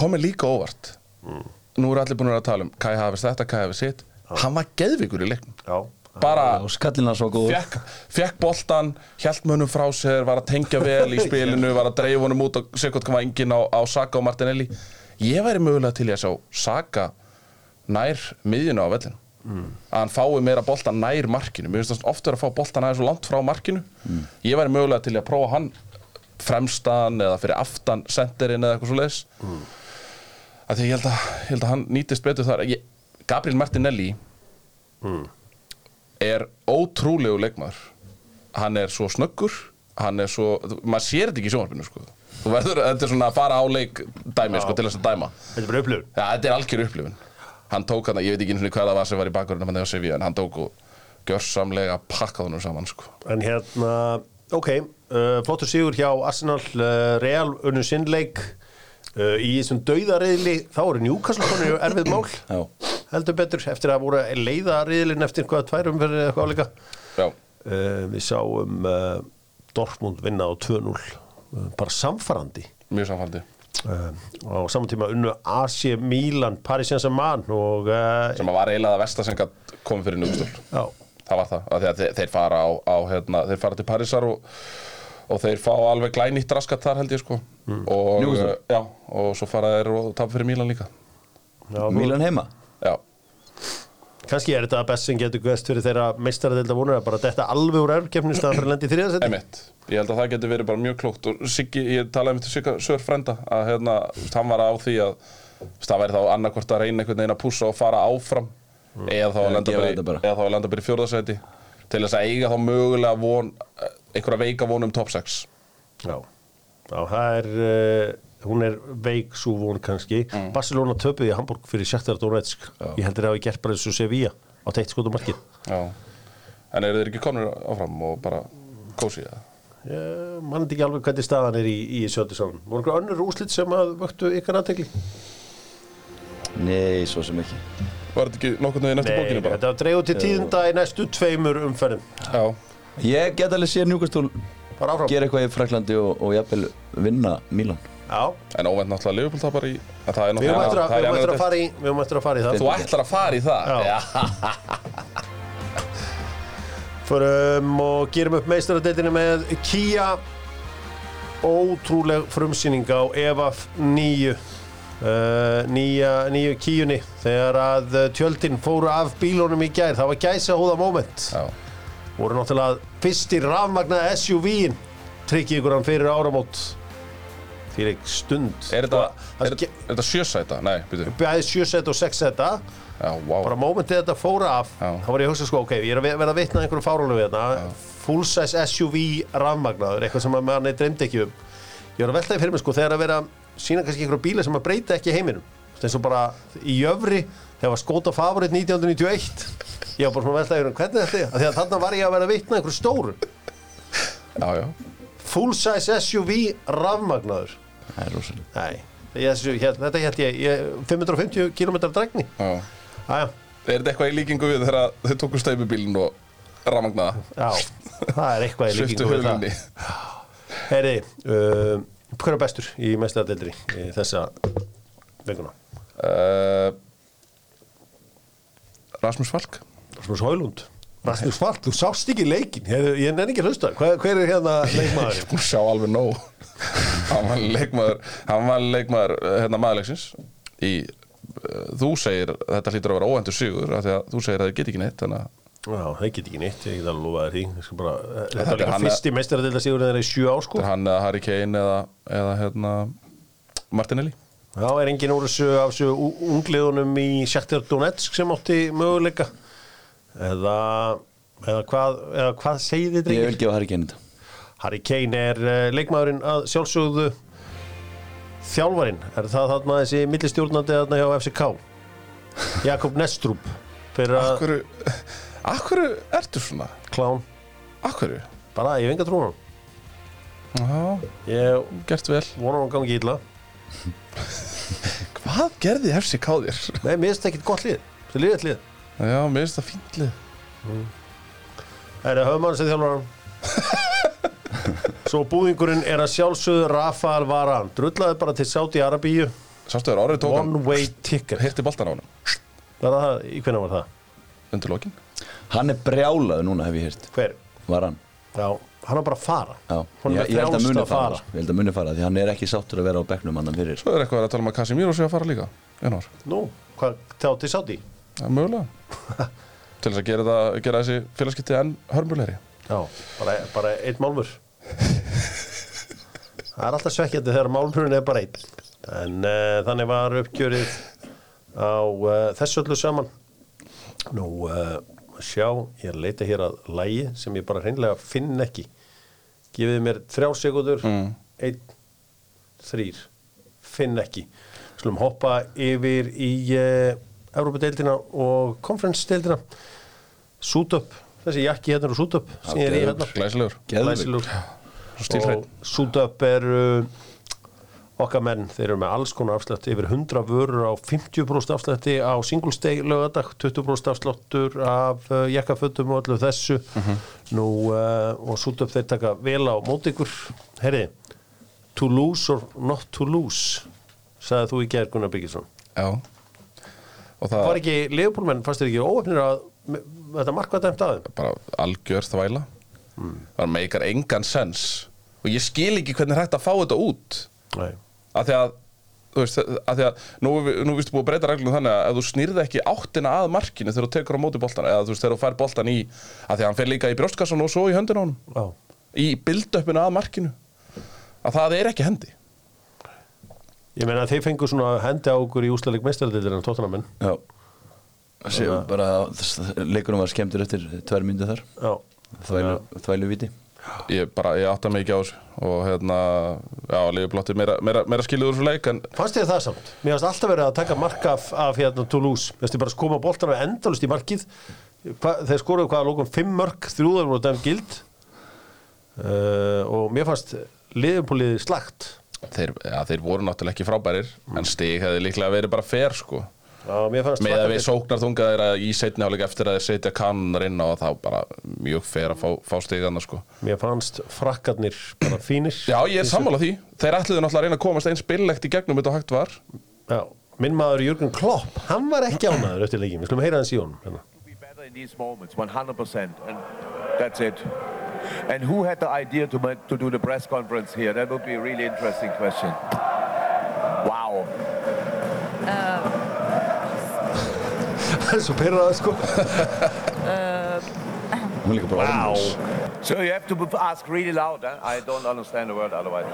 Komið líka óvart
Mm.
nú eru allir búin að tala um Kai Havertz þetta, Kai Havertz sitt hann var geðvikur í leiknum
Já,
bara
og skallina svo góð
fekk, fekk boltan, hjælt mönnum frá sér var að tengja vel í spilinu var að dreifa honum út og segja hvort hvað enginn á, á Saka og Martinelli ég væri mögulega til í að sjá Saka nær miðjunu á vellinu að hann fái meira boltan nær markinu mér finnst það ofta að fá boltan aðeins og langt frá markinu ég væri mögulega til í að prófa hann fremstan eða fyrir aftan senderinn eða eitthvað svo leiðis að því ég held að, ég held að hann nýtist betur þar ég, Gabriel Martinelli er ótrúlegu leikmaður hann er svo snöggur hann er svo, þú- maður sér þetta ekki í sjónvarpinu sko. þú verður, þetta er svona að fara á leik dæmi, sko, til þess að dæma
þetta er bara upplifun
ja, þetta er algjör upplifun hann tók hann, ég veit ekki einu sinni hvað það var sem var í bakgrunum hann hefði á Sevilla, en hann tók og gjörsamlega pakkað honum saman sko.
En hérna, ok, uh, flottur sigur hjá Arsenal, uh, Real, unnu sinnleik uh, Í þessum dauðariðli, þá eru Newcastle konur erfið mál
Já.
Heldur betur, eftir að voru að leiða riðlinn eftir hvað tværum fyrir eitthvað álíka
já,
uh, Við sáum uh, Dortmund vinna á 2-0 uh, Bara samfarandi
mjög samfaldi
uh, Á saman tíma unnu Asi Milan, Paris Saint-Germain Og uh,
sem að var eiginlega það versta sem gat komið fyrir nústól
já,
það var það, af því að þeir, þeir fara á, á hérna, þeir fara til Parísar og, og þeir fá alveg glænýtt raskat þar held ég sko og,
Mm.
eh,
Newcastle.
já, og svo fara þeir og tapa fyrir Mílan líka
já, þú-
Milan heima
já,
Kanski er þetta best sem getur gæst fyrir þeirra meistaradelda vonur að bara detta alveg úr erfkefni staðan fyrir að lenda í þriðasetti.
emitt ég held að það getur verið bara mjög klókt og Siggi, ég talaði um þetta Sigga Sör frænda að hérna, þú veist, hann var á því að þú veist, það væri þá annarkvort að reyna einhvern veginn að pússa og fara áfram eða þá að
Mm. Eða
lenda
gefa
bara,
þetta
í-
bara.
eða þá að lenda bara í fjórðasæti til þess að eiga þá mögulega von, einhverja veika von um top 6
Já. Já, það er, uh, hún er veik svo von kannski.
Mm.
Barcelona töpuði í Hamburg fyrir Shakhtar Donetsk. Ég heldur að hafi gert bara þessu Sevilla á teitt skotumarkið.
já, en eru þeir ekki konur áfram og bara kósið það
Man er ekki alveg hvernig staðan er í, í sjötu saman. Voru einhver önnur úslit sem að vöktu ykkar aðtekli?
nei, svo sem ekki
Var þetta ekki nokkurnu í næstu bókinu bara?
þetta dreigur til tíðinda í næstu tveimur umferðum.
Já,
ég get alveg séð Newcastle
Bara áfram.
gera eitthvað í Fraklandi og, og jafnvel vinna Milan
Já,
en óvænt náttúrulega Liverpool tapar í en Það er
við höfum eftir
náttúrulega
að, við
það er
eigum eftir
annað
að,
deild.
fara í- við eigum eftir að fara í það.
Þú ætlar að fara í það?
Já. Förum og gerum upp meistaradeildinu með Kia Ótrúleg frumsýning á EVAF 9 uh, nýja, nýju Kíunni þegar að uh, tjöldin fóru af bílunum í gær, það var gæsa hóða moment
Já.
voru náttúrulega fyrstir rafmagna SUV-in tryggið ykkur hann fyrir áramót fyrir stund
Er þetta,
Sko,
er,
það
er þetta sjösæta? Nei, býtu
bæði 7 set og 6 seta
Já, wow
bara mómentið þetta fóra af
Já.
þá var ég að hugsa sko, ok, ég er að ve- verða að vitna einhverju fáránum við þetta, full size SUV rafmagnaður, eitthvað sem að manni dreymdi ekki um ég var að velta því fyrir mig sko þegar að vera að sína kannski einhverju bíla sem að breyta ekki heiminum Þú veist, eins og bara í jöfri þegar var skóta favorit 1991 ég var bara svona að velta því fyrir mig, hvernig þetta er Af því að þarna var ég að vera að vitna einhverju stóru
Já, já
full size SUV rafmagnaður
það er rosalega
nei, þessu, hér, þetta hétt ég, ég 550 km dregni
Já.
aðja
Er þetta eitthvað í líkingu við þegar að þau tóku steypubílinn og ramagnaða?
Já, það er eitthvað í
Sviftu
líkingu við það.
höflinni.
Heyri, uh, hver er bestur í mestaradeildri í þessa vekuna?
Uh, Rasmus Falk
Rasmus Hólund Rasmus Falk, þú sást ekki leikin Ég, ég nenni ekki að hlusta, hver, hver er hérna leikmaður?
Búin að sjá alveg nóg Hann var leikmaður Hann var leikmaður eh, hérna maðurleiksins Í eh, Þú segir Þetta hlýtur að vera óhendur sigur af því að Þú segir að þið get ekki neitt Þannig að
Já, það get ekki neitt, ég get alveg lofa þér því Ég skal bara, eh, Þetta
Þetta er
var líka
hann-
fyrst í mestaradeildar sigur þegar það er í sjö á
Þetta
sko
er hann eða Harry Kane eða, eða hérna Martinelli
Já, er engin úr þessu af þessu ú- ungliðunum í Shakhtar Donetsk sem átti möguleika eða, eða, hvað, eða hvað segið þið
ég
drengir?
vil gefa Harry Kane þetta
Harry Kane er eh, leikmaðurinn að sjálfsögðu þjálfarinn, er það þarna þessi millistjórnandi þarna hjá FCK
[laughs]
Jakob Nestrup fyrir að
Akkur Akkur ertu svona?
klán,
Akkur
bara ég venga trúna
Já,
ég
gert vel
vona hann gangi illa
Hvað gerði FCK þér?
nei, mér finnst ekkert gott lið, þetta er liðið lið
Já, mér finnst það fíntlið
það er að höfum hann sem
[laughs]
þjálfarinn svo búðingurinn er að sjálfsögðu Rafael Varan, drullaði bara til Saudi Arabíu
Sástu þér, Orri tók hann,
One way ticket
hirti boltan á hann
Var það, í hvernig var það?
undir lokin.
Hann er brjálaður núna hef ég hýrt
Hver?
Var hann
Já, hann var bara að fara
Já,
Honum
ég,
er
ég held að
frjálst
muni
að
fara,
fara.
sko. Ég held að muni fara því hann er ekki sáttur að vera á bekknum annan fyrir sko.
Svo er eitthvað að tala um að Casimiro sé að fara líka, januar.
Nú, hvað, þá til sátti?
Það er mögulega. [laughs] Til þess að gera, það, gera þessi félagskipti enn hörmulegri.
Já, bara, bara einn málmur Það er alltaf svekkjandi þegar málmurinn er bara einn En uh, þannig var uppgjörið á uh, þessu öllu saman Nú, uh, sjá, ég leita hér að lægi sem ég bara hreinlega finn ekki Gefið mér þrjár sekundur, einn, þrýr, finn ekki Skulum hoppa yfir í uh, Európa-deildina og konferensdeildina Sútöp, þessi jakki hérna eru Sútöp sem ég er í hérna
Glæsilegur.
Geðveik.
Glæsilegur.
Svo stílhreinn.
Og Sútöp eru okkar menn, þeir eru með alls konar afslætt yfir 100 vörur á 50% afslætti á Singles Day lögadag 20% afsláttur af uh, jakkafötum og öllu þessu Nú, uh, og Sútöp þeir taka vel á móti ykkur Herri, to lose or not to lose sagði þú í gerð Gunnar Byggisson
Já. Og það
Var ekki Leopoldmenn, fannst þér ekki óöfnir að me- þetta markvað dæmt aðeim?
bara algjör þvæla. Það meikar engan sens. Og ég skil ekki hvernig er hægt að fá þetta út.
Nei
af því að þú veist, af því að nú, er við- nú vistu búið að breyta reglum þannig að ef þú snýrði ekki áttina að markinu þegar þú tekur á móti boltan eða þú veist þegar þú fær boltan í af því að hann fer líka í brjóstkassan og svo í höndin á hann
Já.
í bildöppinu að markinu að það er ekki hendi
Ég meina að þeir fengu svona hendi á okkur í úslaðleik meistardeldirinn tóttunamenn.
Já Sér, bara, Leikunum var skemmtur eftir tvær myndu þar
Já.
Þvælu, þvælu viti
ég bara, ég átta mig ekki á þessu og hérna, já, liðblotti meira, meira, meira skilur úr þessu leik en
Fannst þið það samt? Mér fannst alltaf verið að taka mark af, af hérna Toulouse. Mér fannst þið bara að koma boltan af endalust í markið. Hva, þeir skoruðu hvað að lókum fimm mörk, þrjúðar voru dæm gild. Uh, og mér fannst liðumpúlið slagt.
þeir, ja, þeir voru náttúrulega ekki frábærir
Mm.
en stig hefði líklega verið bara fer sko
Já, mér fannst
með að við
slakandi-
sóknarþunga þeirra í setni hálfleik eftir að þeir setja kanunar inn á þá bara mjög fer að fá, fá stigana sko.
Mér fannst frakkarnir bara fínir.
Já, ég er sammála því. Þeir ætluðu náttúrulega að reyna að komast eins billegt í gegnum þetta og hægt var.
Já. Minn maður Jörgen Klopp, hann var ekki ánæður eftir leikin. Við skulum heyra hans í honum. Hérna.
be better in these moments, 100%, and that's it. And who had the idea to, ma- to do the press conference here? That would be a really interesting question. Wow.
Það er [laughs] svo pyrraða sko.
Hún er líka bara orðlaus.
So you have to b- ask really loud. Huh? I don't understand the word otherwise.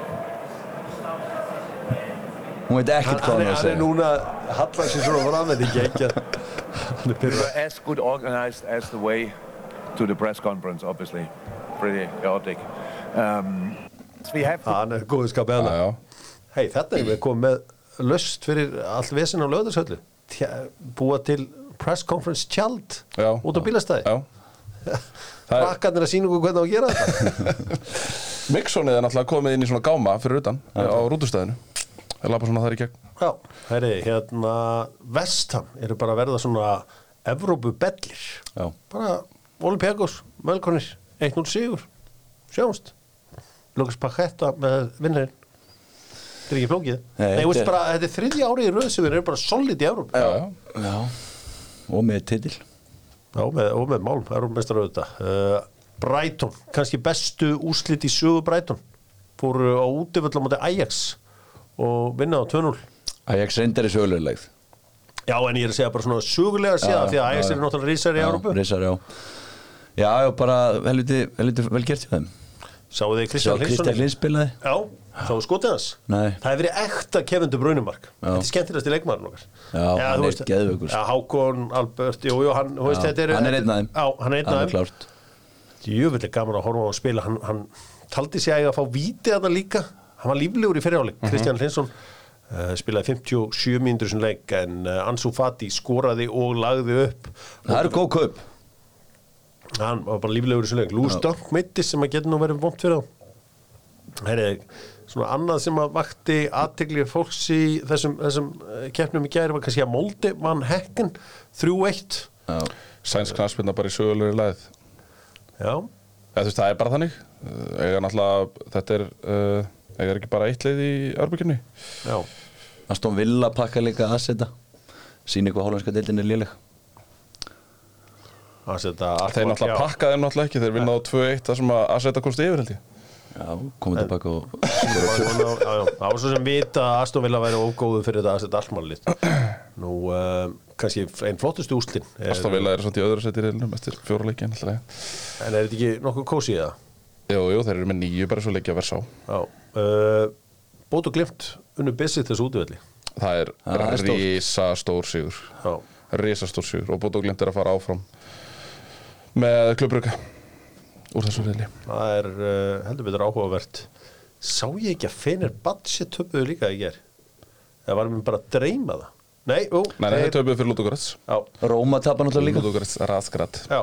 Hún veit ekkert hvað
hann, hann
hún er að
er
segja
núna hallar sér svona fram en ekki ekki hann er
We
pyrra
were as good organized as the way to the press conference, obviously. Pretty chaotic. Um, we have to
hann er góðu skapið
Já,
hann
já.
hei þetta er við komum með löst fyrir allt vesin á löðarsöldu búa til press conference tjald
já.
út á bílastæði
Já. Það er,
krakkarnir að sína okkur hvernig á að gera þetta
Mixonið er náttúrulega komið inn í svona gáma fyrir utan á rútustæðinu. Þeir lappa svona þar í gegn.
já, herri, hérna vestam eru bara að verða svona Evrópu bellir
Já.
bara Olympiakos, Mölkonir 1-0 sigur, sjáumst Lukas Paketta með vinnarinn þetta er ekki flókið
Nei,
Nei, þú veist
þetta er-
bara, þetta er þriðja ári í röð sem við erum bara solid í Evrópu
Já, já.
Já, og með titil
Já, með, og með málum, Evrópumestrar auðvitað uh, Brighton, kannski bestu úrslit í sögu Brighton fóru á útiföll á móti Ajax og vinna á 2-0
Ajax reyndar í sögulegð
Já, en ég er að segja bara svona sögulega séða því að Ajax er náttúrulega rísar í Evrópu
Rísar, já Já, já, bara helviti, helviti vel gert hjá þeim
Sáu þið
Sjá,
Kristján Hlinsson
Kristján Lins spilaði
Já, sáu skotið hans
Nei.
Það hefur verið ekta Kevin De Bruyne mark Þetta er skemmtilegast í leikmaðurinn okkar
Já, hann
þú
er geðveikur, sko.
Já, Hákon, Albert, jú, jú, hann, þú veist, þetta er
Hann er einn af þeim
Já, hann er einn af
Alveg
þeim
klárt
Jöfnveld er gaman að horfa á að spila hann, hann taldi sig að eiga að fá víti að það líka hann var líflegur í fyrirháleik
Mhm.
Kristján Hlinsson uh, spilaði 57 mínútur sem leik en uh, Ansu Fati skoraði og lagði upp
Það eru góð kaup
hann var bara líflegur í svona leik Lús Dökk meittist sem að geta nú verið vond fyrir þá Heri, svona annað sem að vakti aðtegli fólks í þessum, þessum eh, keppnum í gæri var kannski að Molde vann hekkin 3-1
Sæns knarsbyrna bara í sögulegri leið.
já,
Eða, þú veist, það er bara þannig. Eh, Uh, Ega náttúrulega, þetta er, uh, eiga er ekki bara eitt leið í örbyggjunni.
já
Aston Villa pakka líka Asseta síni hvað holandska deildin er léleg
að setja
Sko,
Þeir
Arnold
náttúrulega
hjá.
pakka þeir náttúrulega ekki, þeir vinna á 2-1 þar sem að Asseta komst yfir held ég
Já, komið tilbaka og
Já, já, já. Það var svo sem vita að Aston Villa væri ógóðu fyrir þetta að setja allmannlið
[clears throat]
Nú, um, kannski einn flottustu úslin er,
Aston Villa er svona í öðru seti í reilnum eftir fjóra leiki náttúrulega
En er þetta ekki nokkuð kósið það?
Jú, jú, þeir eru með nýju bara svo leiki að versa á
Já uh, Bót og glimt unnu bissið þessu útvelli
Það er
Það er stórt.
risastór sigur
Já,
Risastór sigur og Bóta og Glimt er að fara áfram með klubbrugga úr þessu reili
það er uh, heldur betur áhugavert Sá ég ekki að Fener Batsi töpuðu líka í ger Það var mér bara að dreyma það Nei, ú,
Nei, nei, þeir
þeir-
töpuðu fyrir Lúdógrats
Já,
Róma tapar náttúrulega líka
Lúdógrats raskrat
já,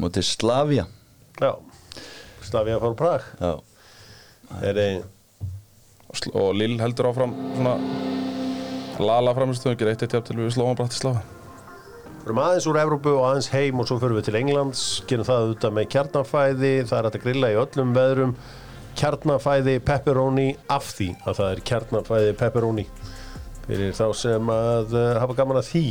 Móti Slavia
já Slafið að fara úr Prag
Já,
Þeir er
og Lill heldur áfram svona lala framistöðum gerir eitt eitt jafn til við slóðum Bratislava
Fyrir aðeins úr Evrópu og aðeins heim og svo fyrir við til Englands, gerum það auðvitað með kjarnafæði, það er hægt að grilla í öllum veðrum, kjarnafæði, pepperoni, af því að það er kjarnafæði, pepperoni, fyrir þá sem að uh, hafa gaman að því.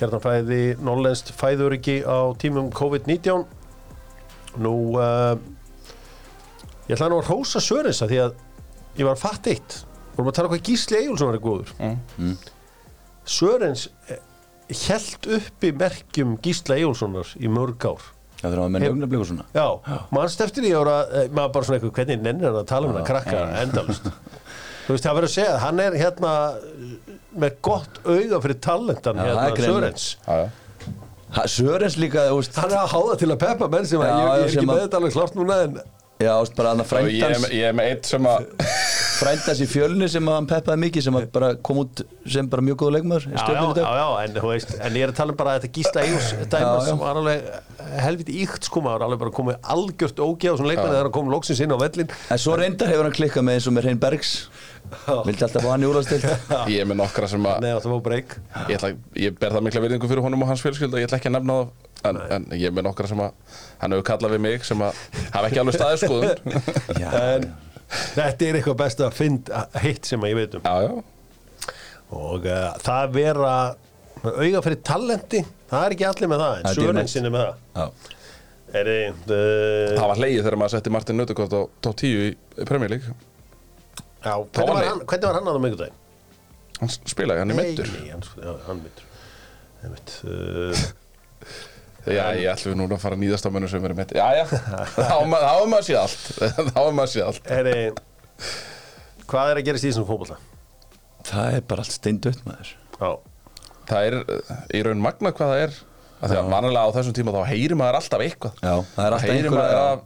Kjarnafæði, norrlenskt fæðuriki á tímum COVID-19. Nú, uh, ég ætla nú að rósa Sörensa því að ég var fatt eitt, vorum að tala um hvað Gísli Egilson var góður. Sörens held uppi merkjum Gísla Eyjólfssonar í mörg ár
það þurfum að menna augnablík og svona
Já, mannst eftir því ára eh, maður bara svona eitthvað, hvernig nennir hann að tala um hann að krakka endalust Þú veist, það verður að segja, að hann er hérna eh, með gott auga fyrir talentan
Já, það er
hérna
greinilegt.
Sörens
ha, Sörens líka, þú veist
Hann er að háða til að peppa menn sem að ég,
Já,
ég er
sem
ekki með
að-
þetta alveg klárt núna en
Já, þú veist bara hann að
ég, er
frændans
með- ég er með eitt sem að
frændans í fjölni sem að hann peppaði mikið sem að bara kom út sem bara mjög góða leikmaður í
Já, já,
stjórnum í
já,
dag
já, en þú veist, en ég er að tala um bara að þetta Gísla Eyjús
Já,
dæma
já.
sem var alveg helviti íkt sko maður alveg bara komið algjört ógeð og svona leikmenni þegar hann kom loksins inn á vellin
En svo reyndar hefur hann klikkað með eins og með Hrein Bergs Vildi alltaf að hann í úrvastild
[laughs]
[laughs] ég er með nokkra sem að
Nei, það var breyk
ég, ætla, ég ber það mikla virðingu fyrir honum og hans fjölskylda ég ætla ekki að nefna það en, en ég er með nokkra sem að hann hefur kallað við mig sem að hafa ekki alveg staðið skoðun
[laughs]
Já,
en þetta er eitthvað best að find hitt sem að ég veit um
já, já,
og uh, það að vera með auga fyrir talenti það er ekki allir með það,
Það
en
er dýrmætt.
Sörensin er með það
já.
er eh, þið
það var hleyið þegar maður setti Martin Nautekort á top 10 í Premier League
já,
Það
hvernig
var
var
leið.
hann, hvernig var hann að það mjögudaginn?
hann spilaði, hann er meittur
Nei, hann, já, hann myndur Einmitt, uh,
já, ég ætlum við núna að fara að nýðast á mönnum sem verið meittur
[laughs]
já, já, þá er ma- þá er maður séð allt [laughs] þá er maður séð allt
Eh, er þið hvað er að gerast í þessum fótbolta?
Það er bara allt steindött maður
Já,
það er uh, í raun magna hvað það er af því að vanalega á þessum tíma þá heyrir maður alltaf eitthvað
Já, það er alltaf
heyrir
einhver-
maður
já.
af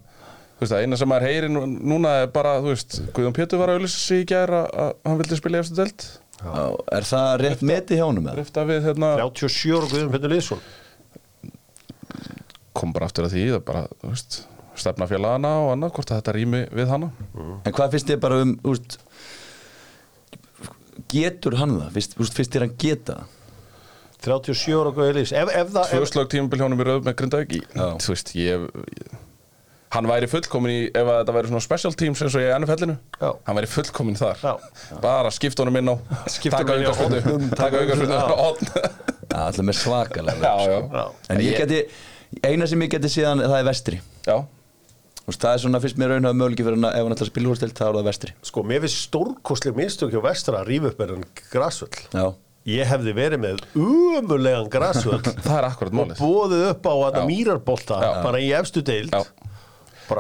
Þú veist, það eina sem maður heyrir nú- núna er bara, þú veist, Guðjón Pétur var að auðlýsa sig í gær að að hann vildi spila í efstu delt.
já. Er það rétt meti hjá honum eða?
Rifta við, hérna,
37 og Guðum Pöndur Lýðsson
kom bara aftur að því, það bara, þú veist, stefna félagana og annað, hvort að þetta rými við hana.
En hvað finnst þið bara um úst, Getur hann það? Fyrst, úst, fyrst er hann geta það?
37 og Guðum Lýðsson ef, ef það,
Tvö
ef,
slög tímabil hjónum í röð með Grindavík í,
Já.
þú veist, ég, ég, hann væri fullkomin í, ef að þetta væri svona special teams eins og ég ennu fellinu,
Já.
hann væri fullkomin þar.
Já.
Bara skipta honum inn á,
Skipta
taka
honum inn á
aukarspunni,
horn.
taka aukarspunni, hodn.
Já, alltaf með svakalega
Já,
vel,
já.
sko.
Já.
En ég
Ég-
geti, eina sem ég geti síðan það er vestri
Já,
úst, Það er svona fyrst mér raunhafði möguleiki fyrir hann að- ef hann ætlar að spila úrstild, það er það vestri
sko, mér finnst stórkostleg mistök hjá vestra að rífa upp er hann grasvöll
Já,
ég hefði verið með umulegan
[laughs]
græsvöld
það er
og
akkurat málið.
bóðið upp á að
Já.
mýrarbolta
Já.
bara í efstu deild
Já.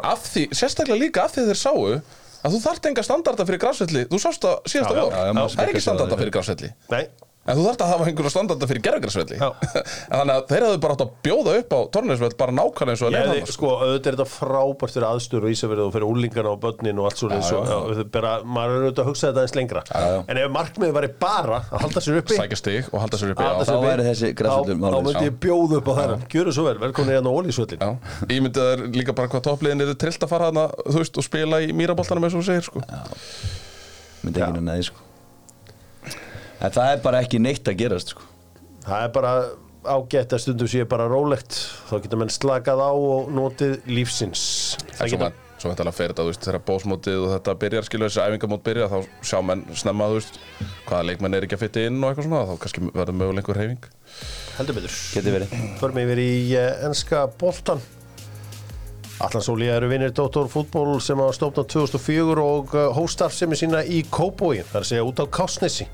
af því, sérstaklega líka af því þeir sáu að þú þarft enga standarda fyrir grásvelli þú sást það
Já,
síðasta
já,
vor,
já, já, maður
það er ekki
sem ekki
standarda
sá
fyrir grásvelli
Nei,
en þú þarft að hafa einhverja standarda fyrir gerðgrásvelli
Já.
[laughs] þannig að þeir hefðu bara átt að bjóða upp á tornisvöll bara nákvæmlega eins og að
ég
lefa
hefði, sko, auðvitað er þetta frábært fyrir aðstöru og ísafyrðu og fyrir úlingarna og börnin og allt svo
Já, já, já.
og þetta bara, maður er auðvitað að hugsa þetta eins lengra
já.
en ef markmiðið væri bara að halda sér uppi
sækja stig og halda sér uppi
að halda
já.
sér-
sér
þá
uppi,
væri þessi grasvöllur
þá-
málið.
þá myndi ég bjóð upp á þær gjöru svo vel, velkomin hérna á ólísvöllin
Já. ég myndi að það er líka bara hvað toppliðin er trillt að fara hana, þú veist, og spila í mýraboltanum eins og þú segir, sko
myndi ekki neina því sko En það er bara ekki neitt að gerast sko
það er bara ágætt að stundum sé bara rólegt þá geta menn slakað á og notið lífsins það
en svo
geta
maður svo þetta fer þetta, þú veist, þegar bósmótið og þetta byrjar, skilur þessi æfingamót byrja þá sjá menn snemma, þú veist, hvaða leikmenn er ekki að fytta inn og eitthvað svona, þá kannski verður möguleg einhver reyfing.
heldur betur
Geti verið
Förum yfir í eh, enska boltan Allan Sólía eru vinnir Dóttor fútból sem hafa stofnað 2004 og eh, hófstarf sem er sína í Kóbói þar segja út á Kásnesi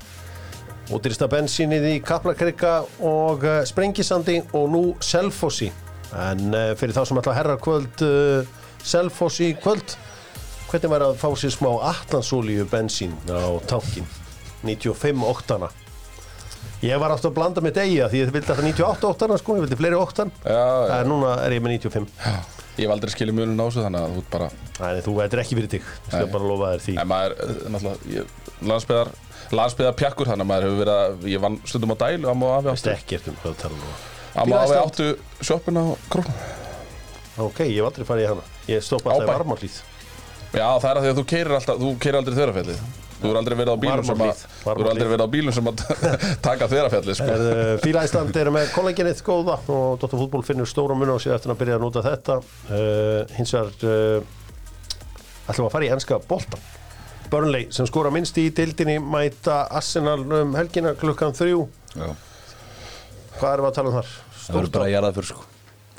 útýrsta bensínið í Kaplakrika og eh, Sprengisandi og nú Selfossi en eh, fyrir þá sem ætla að herra kvöld eh, Selfoss í kvöld hvernig væri að fá sér smá Atlansólíu bensín á tankin 95 óttana ég var aftur að blanda með degja því ég vildi alltaf 98 óttana sko, ég vildi fleiri óttan
Já, já.
en núna er ég með 95
Ég hef aldrei skilið munun á þessu þannig að þú ert bara
Nei, þú veitir ekki fyrir þig, ég skal
Nei.
bara lofa þér því
En maður, eh, náttúrulega, ég- landsbyðar landsbyðar pjakkur þannig að maður hefur verið að ég vann stundum á dælu, amma og afi
Veist
áttu
ekkert um hvað þú talar núna
amma og afi
Bílaðist
áttu sjoppuna á krónum
Ok, ég hef aldrei farið í hana Ég stoppa alltaf í
Ábæ.
varmahlýð
Já, það er að því að þú keirir alltaf, þú keirir aldrei þverafjallið Þú er aldrei verið á bílum sem að
Varmahlíð,
Þú er aldrei verið á bílum sem að [laughs] taka þverafjallið sko.
Eh, Fíla Ísland er með kolleginnið góða og Dóttar fútból finnur stóra mun á sig eftir að byrja að nota þetta uh, hins vegar uh, ætlum við að fara í enska boltan Burnley sem skora minnst í dildinni mæta Arsenal um helgina klukkan þrjú
Já.
Hvað erum við að tala um þar?
Það verður
Stórt
bara að jarða fyrir sko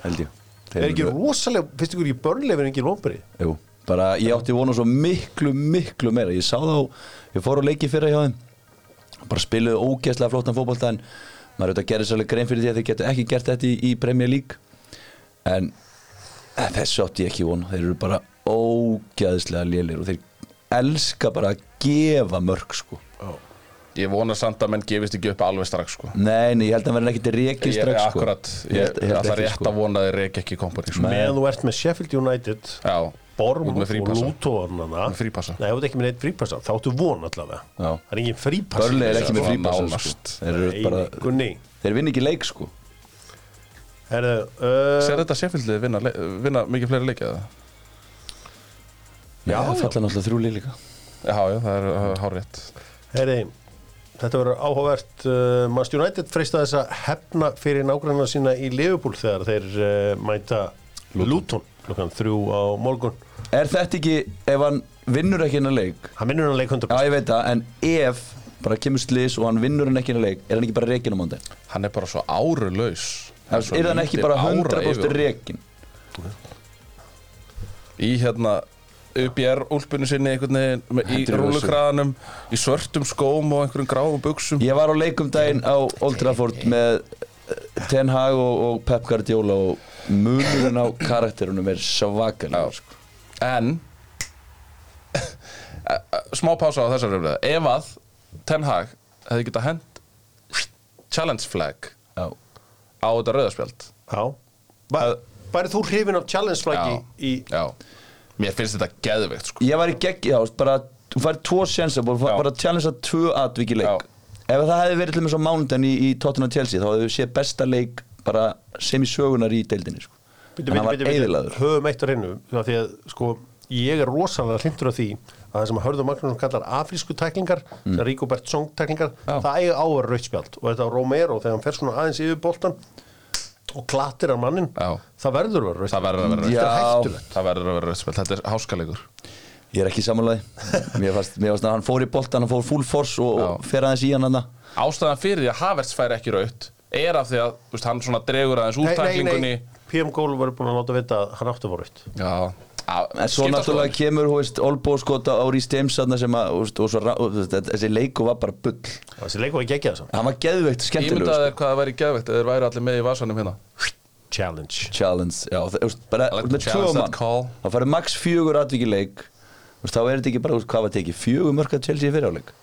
Held ég Þeir
er ekki
eru-
rosalega, finnst ykkur í Burnley verið ekki lombrið?
Jú, bara ég átti vona svo miklu, miklu meira Ég sá þá, ég fór á leiki fyrra hjá þeim Bara spiluðu ógeðslega flottan fótbolta En maður auðvitað gerir sérlega grein fyrir því að þeir getur ekki gert þetta í, í Premier League En eh, þessu átti ég ekki vona Þeir eru bara ógeðslega lélir Og þeir elska bara að gefa mörg sko
Ég vona samt að menn gefist ekki upp alveg strax sko.
Nei, nei, ég held að verða ekkert reikið
Ég er
strax sko
akkurat
Ég
Ég
held- ég held
ætla
ekki,
rétt
sko.
að vona að þið reik ekki kompani sko.
Meðan þú ert með Sheffield United
Já, út
Bormund
með
og
frípassa
Lutónana
Með frípassa.
Nei, þú ert ekki með neitt frípassa, þá áttu von allavega
Já.
Það er engin frípassa
Börli er ekki með
Svona
frípassa sko.
nánast.
Þeir eru
Nei,
bara-
Gunni
Þeir vinna ekki leik sko
Herðu, uh,
Ser þetta séfildið vinna, le- vinna mikið fleiri leikja?
Já, það falla náttúrulega þrjú lið líka
Já, já, það er uh, hárétt
herði Þetta verður áhugavert uh, Manchester United freista þess að hefna fyrir nágrannar sína í Liverpool þegar þeir uh, mæta Luton klokkan þrjú á morgun
Er þetta ekki, ef hann vinnur ekki hennar leik
Hann minnur hann leik 100%
Já, ég veit það, en ef bara kemur slis og hann vinnur hann ekki hennar leik Er hann ekki bara reikin á mándaginn?
Hann er bara svo árulaus
Er er hann ekki bara 100% reikin?
í hérna UBR úlpunni sinni einhvern veginn með- í
Hendur í þessu.
rúlukraðanum, í svörtum skóm og einhverjum gráum buksum
Ég var á leikum daginn á Old Trafford með eh, Ten Hag og, og Pep Guardiola og munurinn á karakterunum er svakalega sko.
en [laughs] Eh, smá pása á þessar umræðu ef að Ten Hag hefði getað hend challenge flag
Já,
á þetta rauðarspjald
Já Bæ- Bærið þú hrifin af challenge flaggi í
já, mér finnst þetta geðveikt sko.
Ég var í gegn, já, bara, þú fær tvo sjensa, bara,
Já.
bara challengea tvö atvik í leik.
Já.
Ef það hefði verið til þess að mándan í, í Tottenham Chelsea, þá hefði við séð besta leik bara sem í sögunar í deildinni, sko.
Bíddu,
en
bíddu,
hann var
bíddu, bíddu.
eðilaður.
höfum eitt á reynu því að sko ég er rosalega hlindur af því að það sem Hörður Magnússon kallar afrísku tæklingar mm. Ríko Bert Song tæklingar það eiga áver rauðspjald og þetta á Romero þegar hann fer svona aðeins yfir boltan og klattir af mannin
Já.
það verður að vera
það
rauðspjald
verður að vera
Já.
rauðarspjald
hættulegt.
það verður að vera rauðarspjald, þetta er háskalegur
Ég er ekki samanlæði. mér fannst, mér fannst að hann fór í boltan, hann fór full force og, og
Já.
fer aðeins í hann hann.
ástæðan fyrir því að Havertz fær ekki rauðt er af því að þú veist, hann svona dregur aðeins úr
nei, nei,
tæklingunni
nei, PM Goal verður búin að láta vita að hann átti að voru rauðt
Já,
En svo náttúrulega kemur, hú veist, Olbóskota á Rís Deimsanna sem að, hú veist, og svo, ra- og, þú veist, þetta- þessi leiku var bara bull.
þessi leikum ekki ekki þessan
Hann var geðveikt skemmtilegur,
sko.
Ímyndaðu þér hvað það væri geðvegt eða þeir væri allir með í vasanum hérna
challenge
sko. Challenge, já, það, þú veist, bara,
I like
like
to
með tvö
challenge that
mann.
call.
Það farið max fjögur atvik í leik Þú veist, Þá er þetta ekki bara, þú veist, hvað var tekið Fjögur mörg að Chelsea í fyriráleik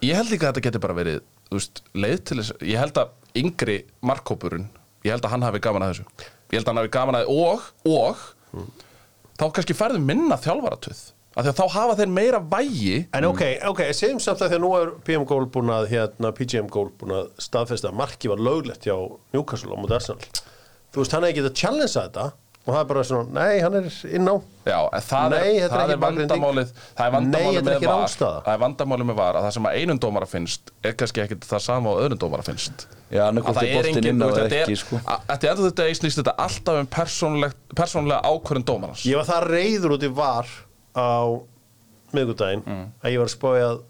Ég held líka að þetta geti bara verið þú veist, leið til þess Ég held að yngri markkópurinn Ég held að hann hafi gaman að þessu Ég held að hann hafi gaman að og, og Þá kannski færðu minna þjálfaratöð af því að þá hafa þeir meira vægi
En ok, ok, segjum samt að því að nú er PM Goal búin að, hérna, PGM Goal búin að staðfesta að marki var löglegt hjá Newcastle á mútið Arsenal. Þú veist, hann hefði getað að challengea þetta og það er bara svona, nei, hann er inn á
Já, en það
Nei, þetta
er,
er
það
ekki
er
baklending.
vandamálið Það er
Nei,
vandamálið
þetta er
með
ekki
var
rangstaða.
Það er vandamálið með var að það sem að einum dómara finnst er kannski ekkit það sama og öðrum dómara finnst
Já,
Að
annað hvort
það
er
er
boltinn
engin
inn á
þú veist,
eða
þetta er-
ekki sko.
að- Þetta er þetta degi snýst þetta alltaf um persónulegt- persónulega ákvörðin dómarans
Ég var það reyður út í var á miðgudaginn
Mm.
að ég var að spája að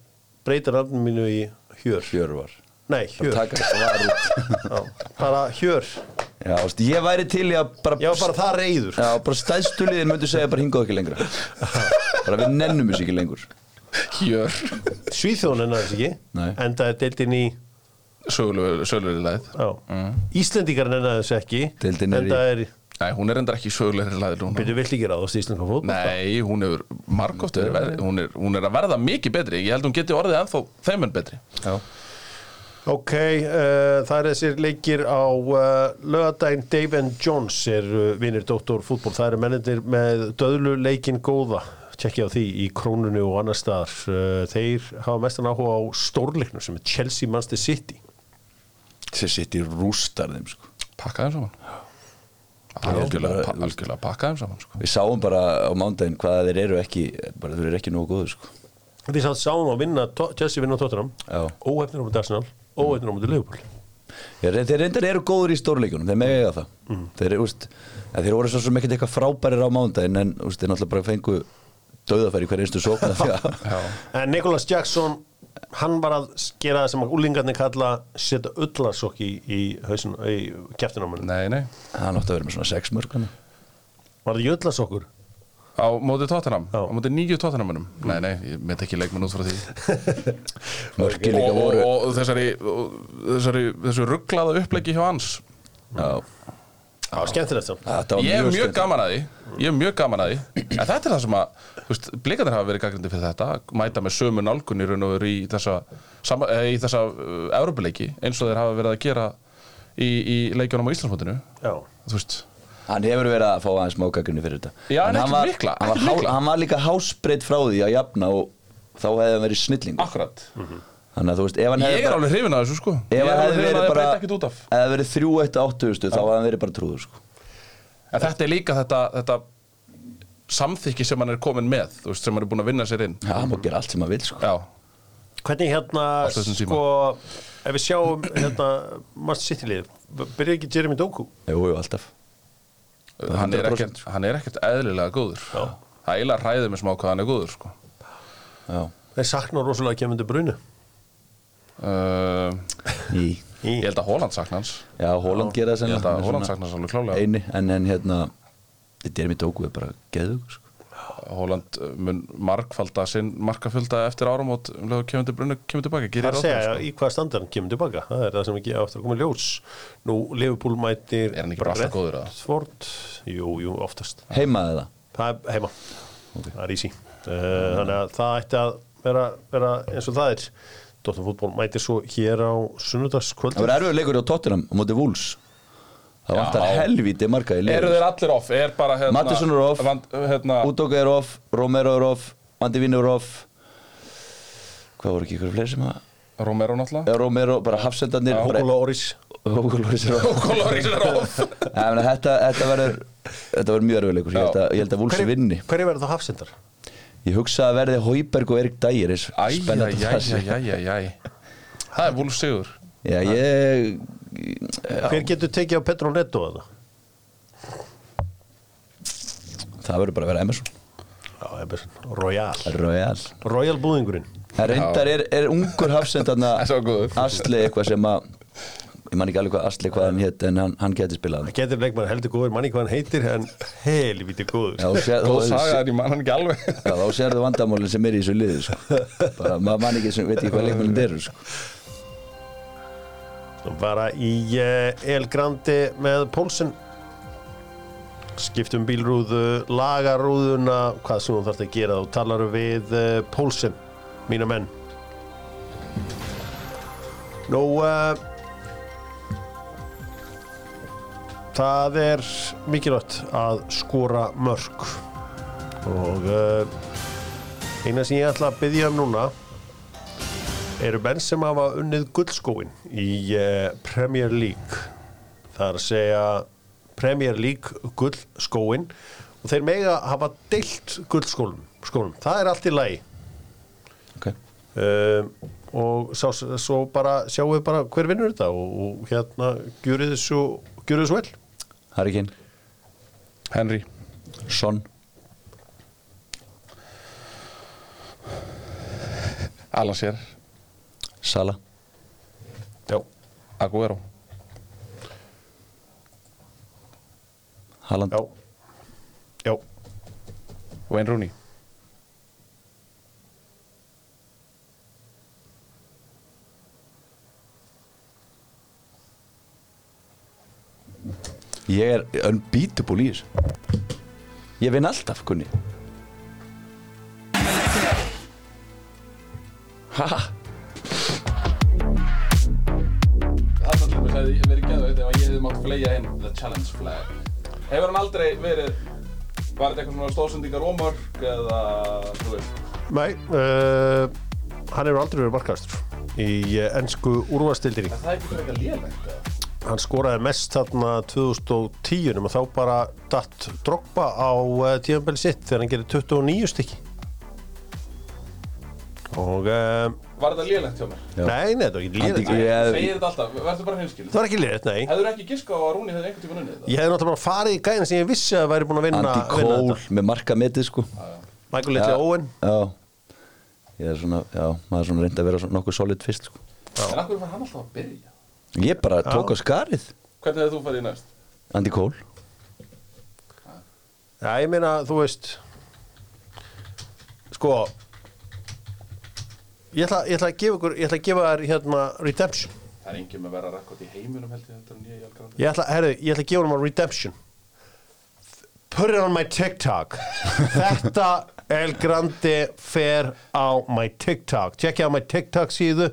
breyta rafnum mínu í Hjör.
Hjörvar
Nei, Hjör.
Taka þetta var út
Já, bara Hjör.
Já, veist, ég væri til í að bara
Ég var bara það reyður.
Já, bara stæðstu liðin myndu segja bara hingað ekki lengra Bara við nennum þessu ekki lengur
Hjör
Svíþjóðan enna þess ekki,
Nei.
en það er deildin í,
Sögulegri læð
já, Íslendingar enna þess ekki,
Mm. Deildin er
en það er,
Nei, hún er endur ekki sögulegri læð núna
byrju vill ekki ráðast í Íslenska fótbolta.
Nei, hún hefur margóft hún, er- hún er að verða mikið betri Ég held hún geti orðið ennþá þeim en betri
Já
Ok, uh, það er þessir leikir á uh, lögadaginn Dave and Jones er uh, vinnir Dr. Fútbol, það eru mennendir með döðluleikin góða, tjekkja á því í krónunni og annar staðar uh, þeir hafa mestan áhuga á stórleiknum sem er Chelsea Manchester City
Sér sitt í rústar þeim sko
Pakka þeim saman Bara Algjörlega pa- algjörlega pakka þeim saman sko.
Við sáum bara á mándaginn hvað þeir eru ekki bara þeir eru ekki nógu góðu sko
Við sátt sáum að vinna, To- Chelsea vinna á Tottenham
Já.
óhefnir á mútið Arsenal, óhefnir á mútið Liverpool
Þeir, þeir reyndar eru góður í stórleikunum, þeir mega eiga það
Mm.
þeir, úst, þeir voru svo sem ekkert eitthvað frábærir á mándaginn en úst, þeir náttúrulega bara fengu döðafæri hver einstu sókn af því
[laughs]
að-
En Nicholas Jackson, hann var að gera það sem að úlingarnir kalla setja öllarsokk í, í, hausin, í kjæftinámanu.
Nei, nei
hann átti að vera með svona sex mörg hann.
Var það jöllarsokkur?
Á móti Tottenham,
Já.
á móti nýju Tottenhamunum Nei, nei, ég met ekki leikmenn út frá því
mörgin líka
og, og,
voru
og þessari, og þessari þessu rugglaða uppleggi hjá hans
Já,
Já, skemmtilegt samt.
þetta var
Ég er mjög
skemmtilegt.
gaman að því Ég er mjög gaman að því En þetta er það sem að, þú veist, blikarnir hafa verið gaggrindi fyrir þetta að Mæta með sömu nálgun í raun og veru í þessa, sama, eh, í þessa uh, Evrópuleiki eins og þeir hafa verið að gera í, í leikjónum á Íslandsmótinu
Já.
Þú veist,
Hann hefur verið að fá aðeins mákakunni fyrir þetta
Já, en
hann
ekki
var,
mikla,
hann, var
ekki
há,
mikla.
hann var líka hásbreytt frá því að jafna og þá hefði hann verið snillingur Mhm.
akkurat
Þannig að þú veist, ef hann
Ég
hefði
er
bara
alveg hrifin að þessu sko Ég
Ef
er
hann
alveg
hefði
hrifin að
verið
það
bara
breyta ekkert út af
Ef það verið 3-1-8 þá hefði hann verið bara trúður sko.
En þetta er líka þetta, þetta samþykki sem hann er komin með þú veist, sem hann er búin að vinna sér inn
Já, hann má gera allt sem hann vil sko.
Já,
Hvernig hérna,
þessum tíma.
sko, ef við sjáum hérna, Mars City lið, byrja ekki Jeremy Doku?
Jú, jú, alltaf
hann er, ekkert, hann er ekkert eðlilega góður Já. Það eiginlega ræði mig smá hvað hann er góður sko.
Já.
Þeir sakna rosalega kemendur brunu.
uh,
Í.
Í.
Ég held að Holland sakna hans
Já, Holland gera það
Ég held
sennilega.
að Holland
Svona
sakna hans alveg klálega
Eini, en, en hérna Dermi Dóku er bara geðug sko.
Holland eh, mun markfalda sinn markafjölda eftir áramót um leðu kemur til brunni, kemur tilbaka
Það
gerir
er að segja í hvað standarn kemur tilbaka. Það er það sem ekki aftur að koma í ljós. Nú, Liverpool mætir...
Er hann ekki bara alltaf góður, eða?
Svort, jú, jú, oftast.
Heimaði það
Það er heima. Það er easy. Uh, þannig að það ætti að vera, vera eins og það er. Dóttar fútból mætir svo hér á sunnudagskvöld.
Það var erfiður leikur á Tottenham á móti Wolves Það vantar helvítið marga í
Eru
liður
þeir allir off? Er bara hérna
Mattisson er off,
vand, hérna,
Útóka er off, Romero er off, Andi Vínu er off Hvað voru ekki ykkur fleiri sem að
Romero náttúrulega
Já, Romero, bara hafsendarnir
Hókul og Orís.
Hókulóris er off
Og
[laughs]
Colorís er off
Nei, ég meina, Þetta, þetta verður þetta verður mjög erfið leikur ég held, að, ég held að Wolves vinni
Hverju verður það hafsendar?
Ég hugsa að verði Hauberg og Erik Dægir eins spennandi það sé.
Æjæjæjæjæj Það er Wolf Sigur
Já, ég
Eh,
Hver getur tekið á Petro Netto að það?
Það verður bara að vera Emerson
Já, Emerson, Royal
Royal
Royal búðingurinn
Það reyndar er, er ungur hafsendarna
[laughs] Það er svo góður.
Asli eitthvað sem að Ég man ekki alveg hvað Asli hvað hann hétt en hann, hann geti spilað hann
Það getur leikmann heldur góður, manni hvað hann heitir en helviti góður
Já, þú sér-
Góð
þú-
saga en ég man hann ekki alveg
Já, þá sérðu vandamálinn sem er í þessu liði sko. bara maður man ekki sem veit ekki hvað leikmælinn eru sko.
Svo bara í eh, El Grande með Pólsen skiptum bílrúðu lagarúðuna, hvað sem þú þarft að gera þú talar við eh, Pólsen mína menn Nú uh, það er mikilvægt að skora mörg og uh, eina sem ég ætla að byggja um núna eru menn sem hafa unnið guldskóin í eh, Premier League það er að segja Premier League gullskóin og þeir mega hafa deilt gullskólum skólum. það er allt í lagi
Ok.
um, og sá, svo bara sjáum við bara hver vinnur þetta og, og hérna gjörið þessu, gjörið þessu vel
Harry Kane,
Henry
Son
Alan Sér
Sala
Já,
Aguero
Haaland
já, já,
Wayne Rooney
Ég er unbeatable í þessu Ég vinn alltaf, kunni Ha?
Þarna til þess að ég verið geðveit ef að ég hefði mátt flega inn The Challenge Flag Hefur hann aldrei verið Var þetta eitthvað svona stóðsendingar ómörk eða þú veist
nei uh, hann hefur aldrei verið markastur í eh, ensku úrvastildinni
Það er ekki eitthvað lélegt eða
hann skoraði mest þarna 2010 og þá bara datt Drogba á tíðanbeli sitt þegar hann gerir 29 stykki og um,
Var þetta lélegt hjá mér?
nei, nei, þetta var ekki
Andi,
liðið
ég,
Segir
ég,
þetta alltaf, verður bara hreinskil
það var ekki liðið, nei
Hefur ekki giska á að Rúni hefði einhvern tíma unnið þetta?
ég hefði náttúrulega bara farið í gæðin sem ég vissi að væri búin að vinna,
Andy
vinna
Cole með marka metið sko
þetta Michael Little Owen
Já Ég er svona, já, maður er svona reyndi að vera svona nokkuð solid fyrst sko
En akkur var hann alltaf að byrja?
Ég bara tók á skarið
Hvernig hefði þú farið í næst?
Andy Cole
já, ég meina, þú veist sko ég ætla, ég ætla að gefa ykkur ég ætla að gefa þær hérna redemption
Það er engin með verra rekord í heiminum held ég heldur en ég í Algrandi.
Ég ætla, herru, ég ætla að gefa hann á Redemption Put it on my TikTok Þetta El Grandi fer á my TikTok Tjekkja á my TikTok síðu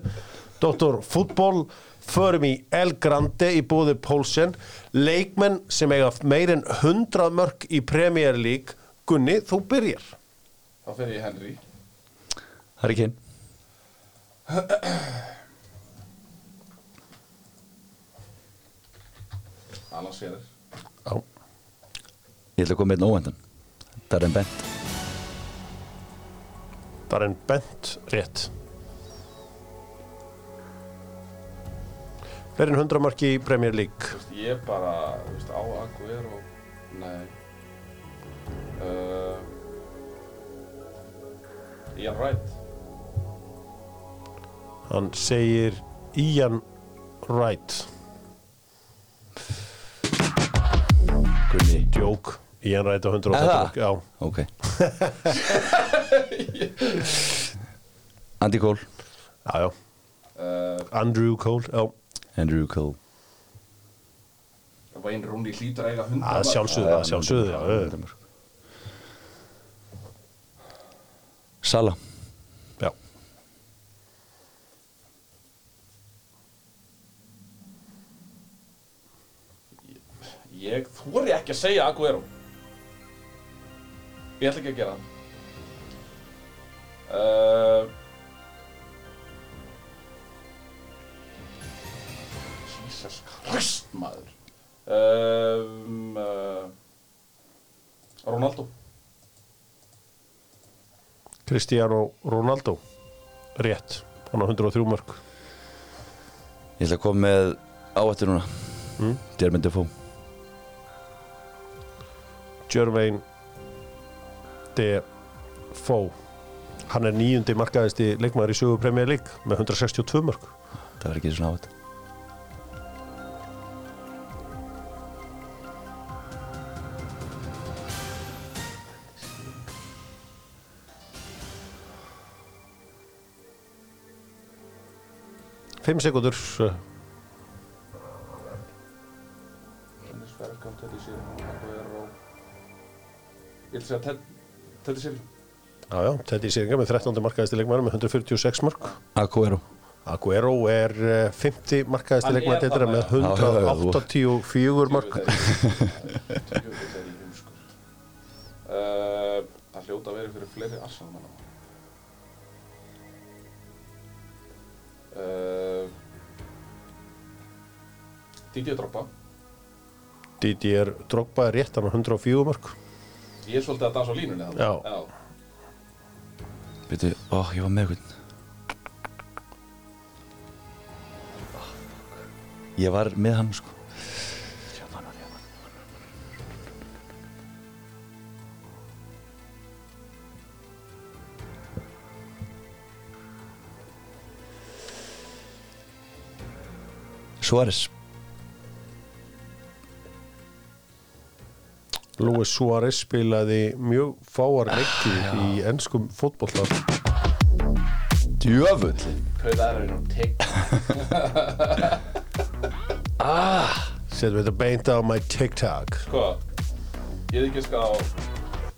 Dr. Fútbol Förum í El Grandi í búði Pólsen Leikmenn sem eiga meir en 100 mörg í Premier League Gunni, þú byrjar
Þá fer ég í Henry.
Harry Kane
Alan Shearer.
Já,
Ég ætla að koma með einn óvendan Darren Bent
það er enn bent rétt Meir en 100 mörg í Premier League
Þú veist, ég bara, þú veist, á Aguero, nei. Uh, Ian Wright,
Hann segir Ian Wright
Gunni
Djók Ian Wright á 100
Er það?
Já,
[laughs] Ok Andy Cole
já, já
uh,
Andrew Cole, já
Andrew Cole
Wayne Rooney hlýtur að eiga hundra.
Að sjálfsögðu, að sjálfsögðu já, já,
Sala
já.
Ég þóri ekki að segja Aguero. Ég ætla ekki að gera Ehm, það. Uh, Jesus Christ, maður. Um, uh, Ronaldo.
Cristiano Ronaldo Rétt, hann á 103 mörg
Ég ætla að koma með áættu núna mm. Dermond Defoe
Jermaine Defoe Hann er nýjundi markaðisti leikmaður í sögu Premier League með 162 mörg
Það var ekki svona áætt
Fimm sekundur uh,
Dennis Bergkamp, Teddy Sheringham, Aguero Ég ætla að segja Ted- Teddy Sheringham
Já, já, þetta er sérðingar með 13. markaðisti leikmaður með 146 mörg
Aguero
Aguero er eh, 50 markaðist
Hann er
leikmaður deildar
þarna,
með
já. Já, já, já, þú-
184 mark
Tjöfull er í heimskur uh, Það hljóta að vera fyrir fleiri Arsenal uh, Didi að droppa
DDR Drogba er rétt hann á 104 mörg
Ég er svolítið að dansa á línunni þarna.
Já.
Já.
Býtu, ó, ég var með einhvern Ég var með hann sko Suárez
Luis Suárez spilaði mjög fáar leikti
Ah,
í ennskum fótbollar
Djöfull
Kauða er einhvern tigg.
setjum þetta beint á my TikTok
Sko, ég hefði ekki ská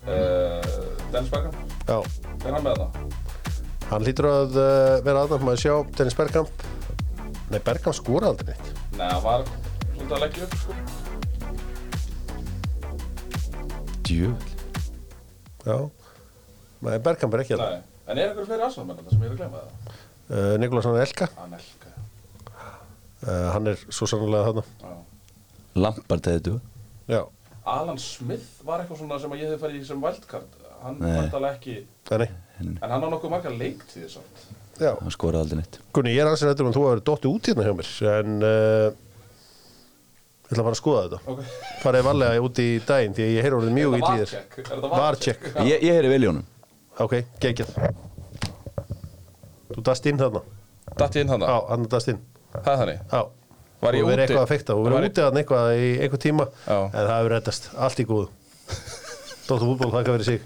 uh, Dennis Beckham.
Já,
Er hann með það?
hann hlýtur að uh, vera aðnafn maður sjá Dennis Bergkamp Nei, Bergkamp skora aldrei neitt
Nei, hann var svolítið að leggja upp, sko.
Djöfull
Já, Nei, Bergkamp er ekki hérna.
Nei.
aðnafn
En er einhverju fleiri aðsvöldmenn þetta sem ég er að glemma það?
uh, Nikolas hann er Elka,
Hann elka.
uh, hann er svo sannlega þarna
Já.
Lampard eða þetta
Já,
Alan Smith var eitthvað svona sem að ég hefði farið í sem wildcard. Hann
Nei.
var alveg ekki,
þannig
en hann á nokkuð marga leiktíði samt.
Já,
Hann skoraði aldrei neitt
Gunni, ég er ansið hættur um að þú hefur dottið út hérna hjá mér en uh, ég ætla að fara að skoða þetta
Ok.
farið varlega út í daginn því að ég heyr orðið mjög
Er
í
þetta
tíðir
VAR-check? Er þetta
Varcheck,
VAR-check?
Ég, ég heyri vel í honum
ok, geggjað Þú dast inn þarna Já,
Datt ég inn þannig?
hann dast inn
Það er þannig.
Já,
Var ég
og verið
úti-
eitthvað að fekta og
Var
verið
ég-
úti þarna eitthvað í einhver tíma
Já. [laughs]
en það hefur reddast, allt í góðu Dóttu fútból, þakka fyrir sig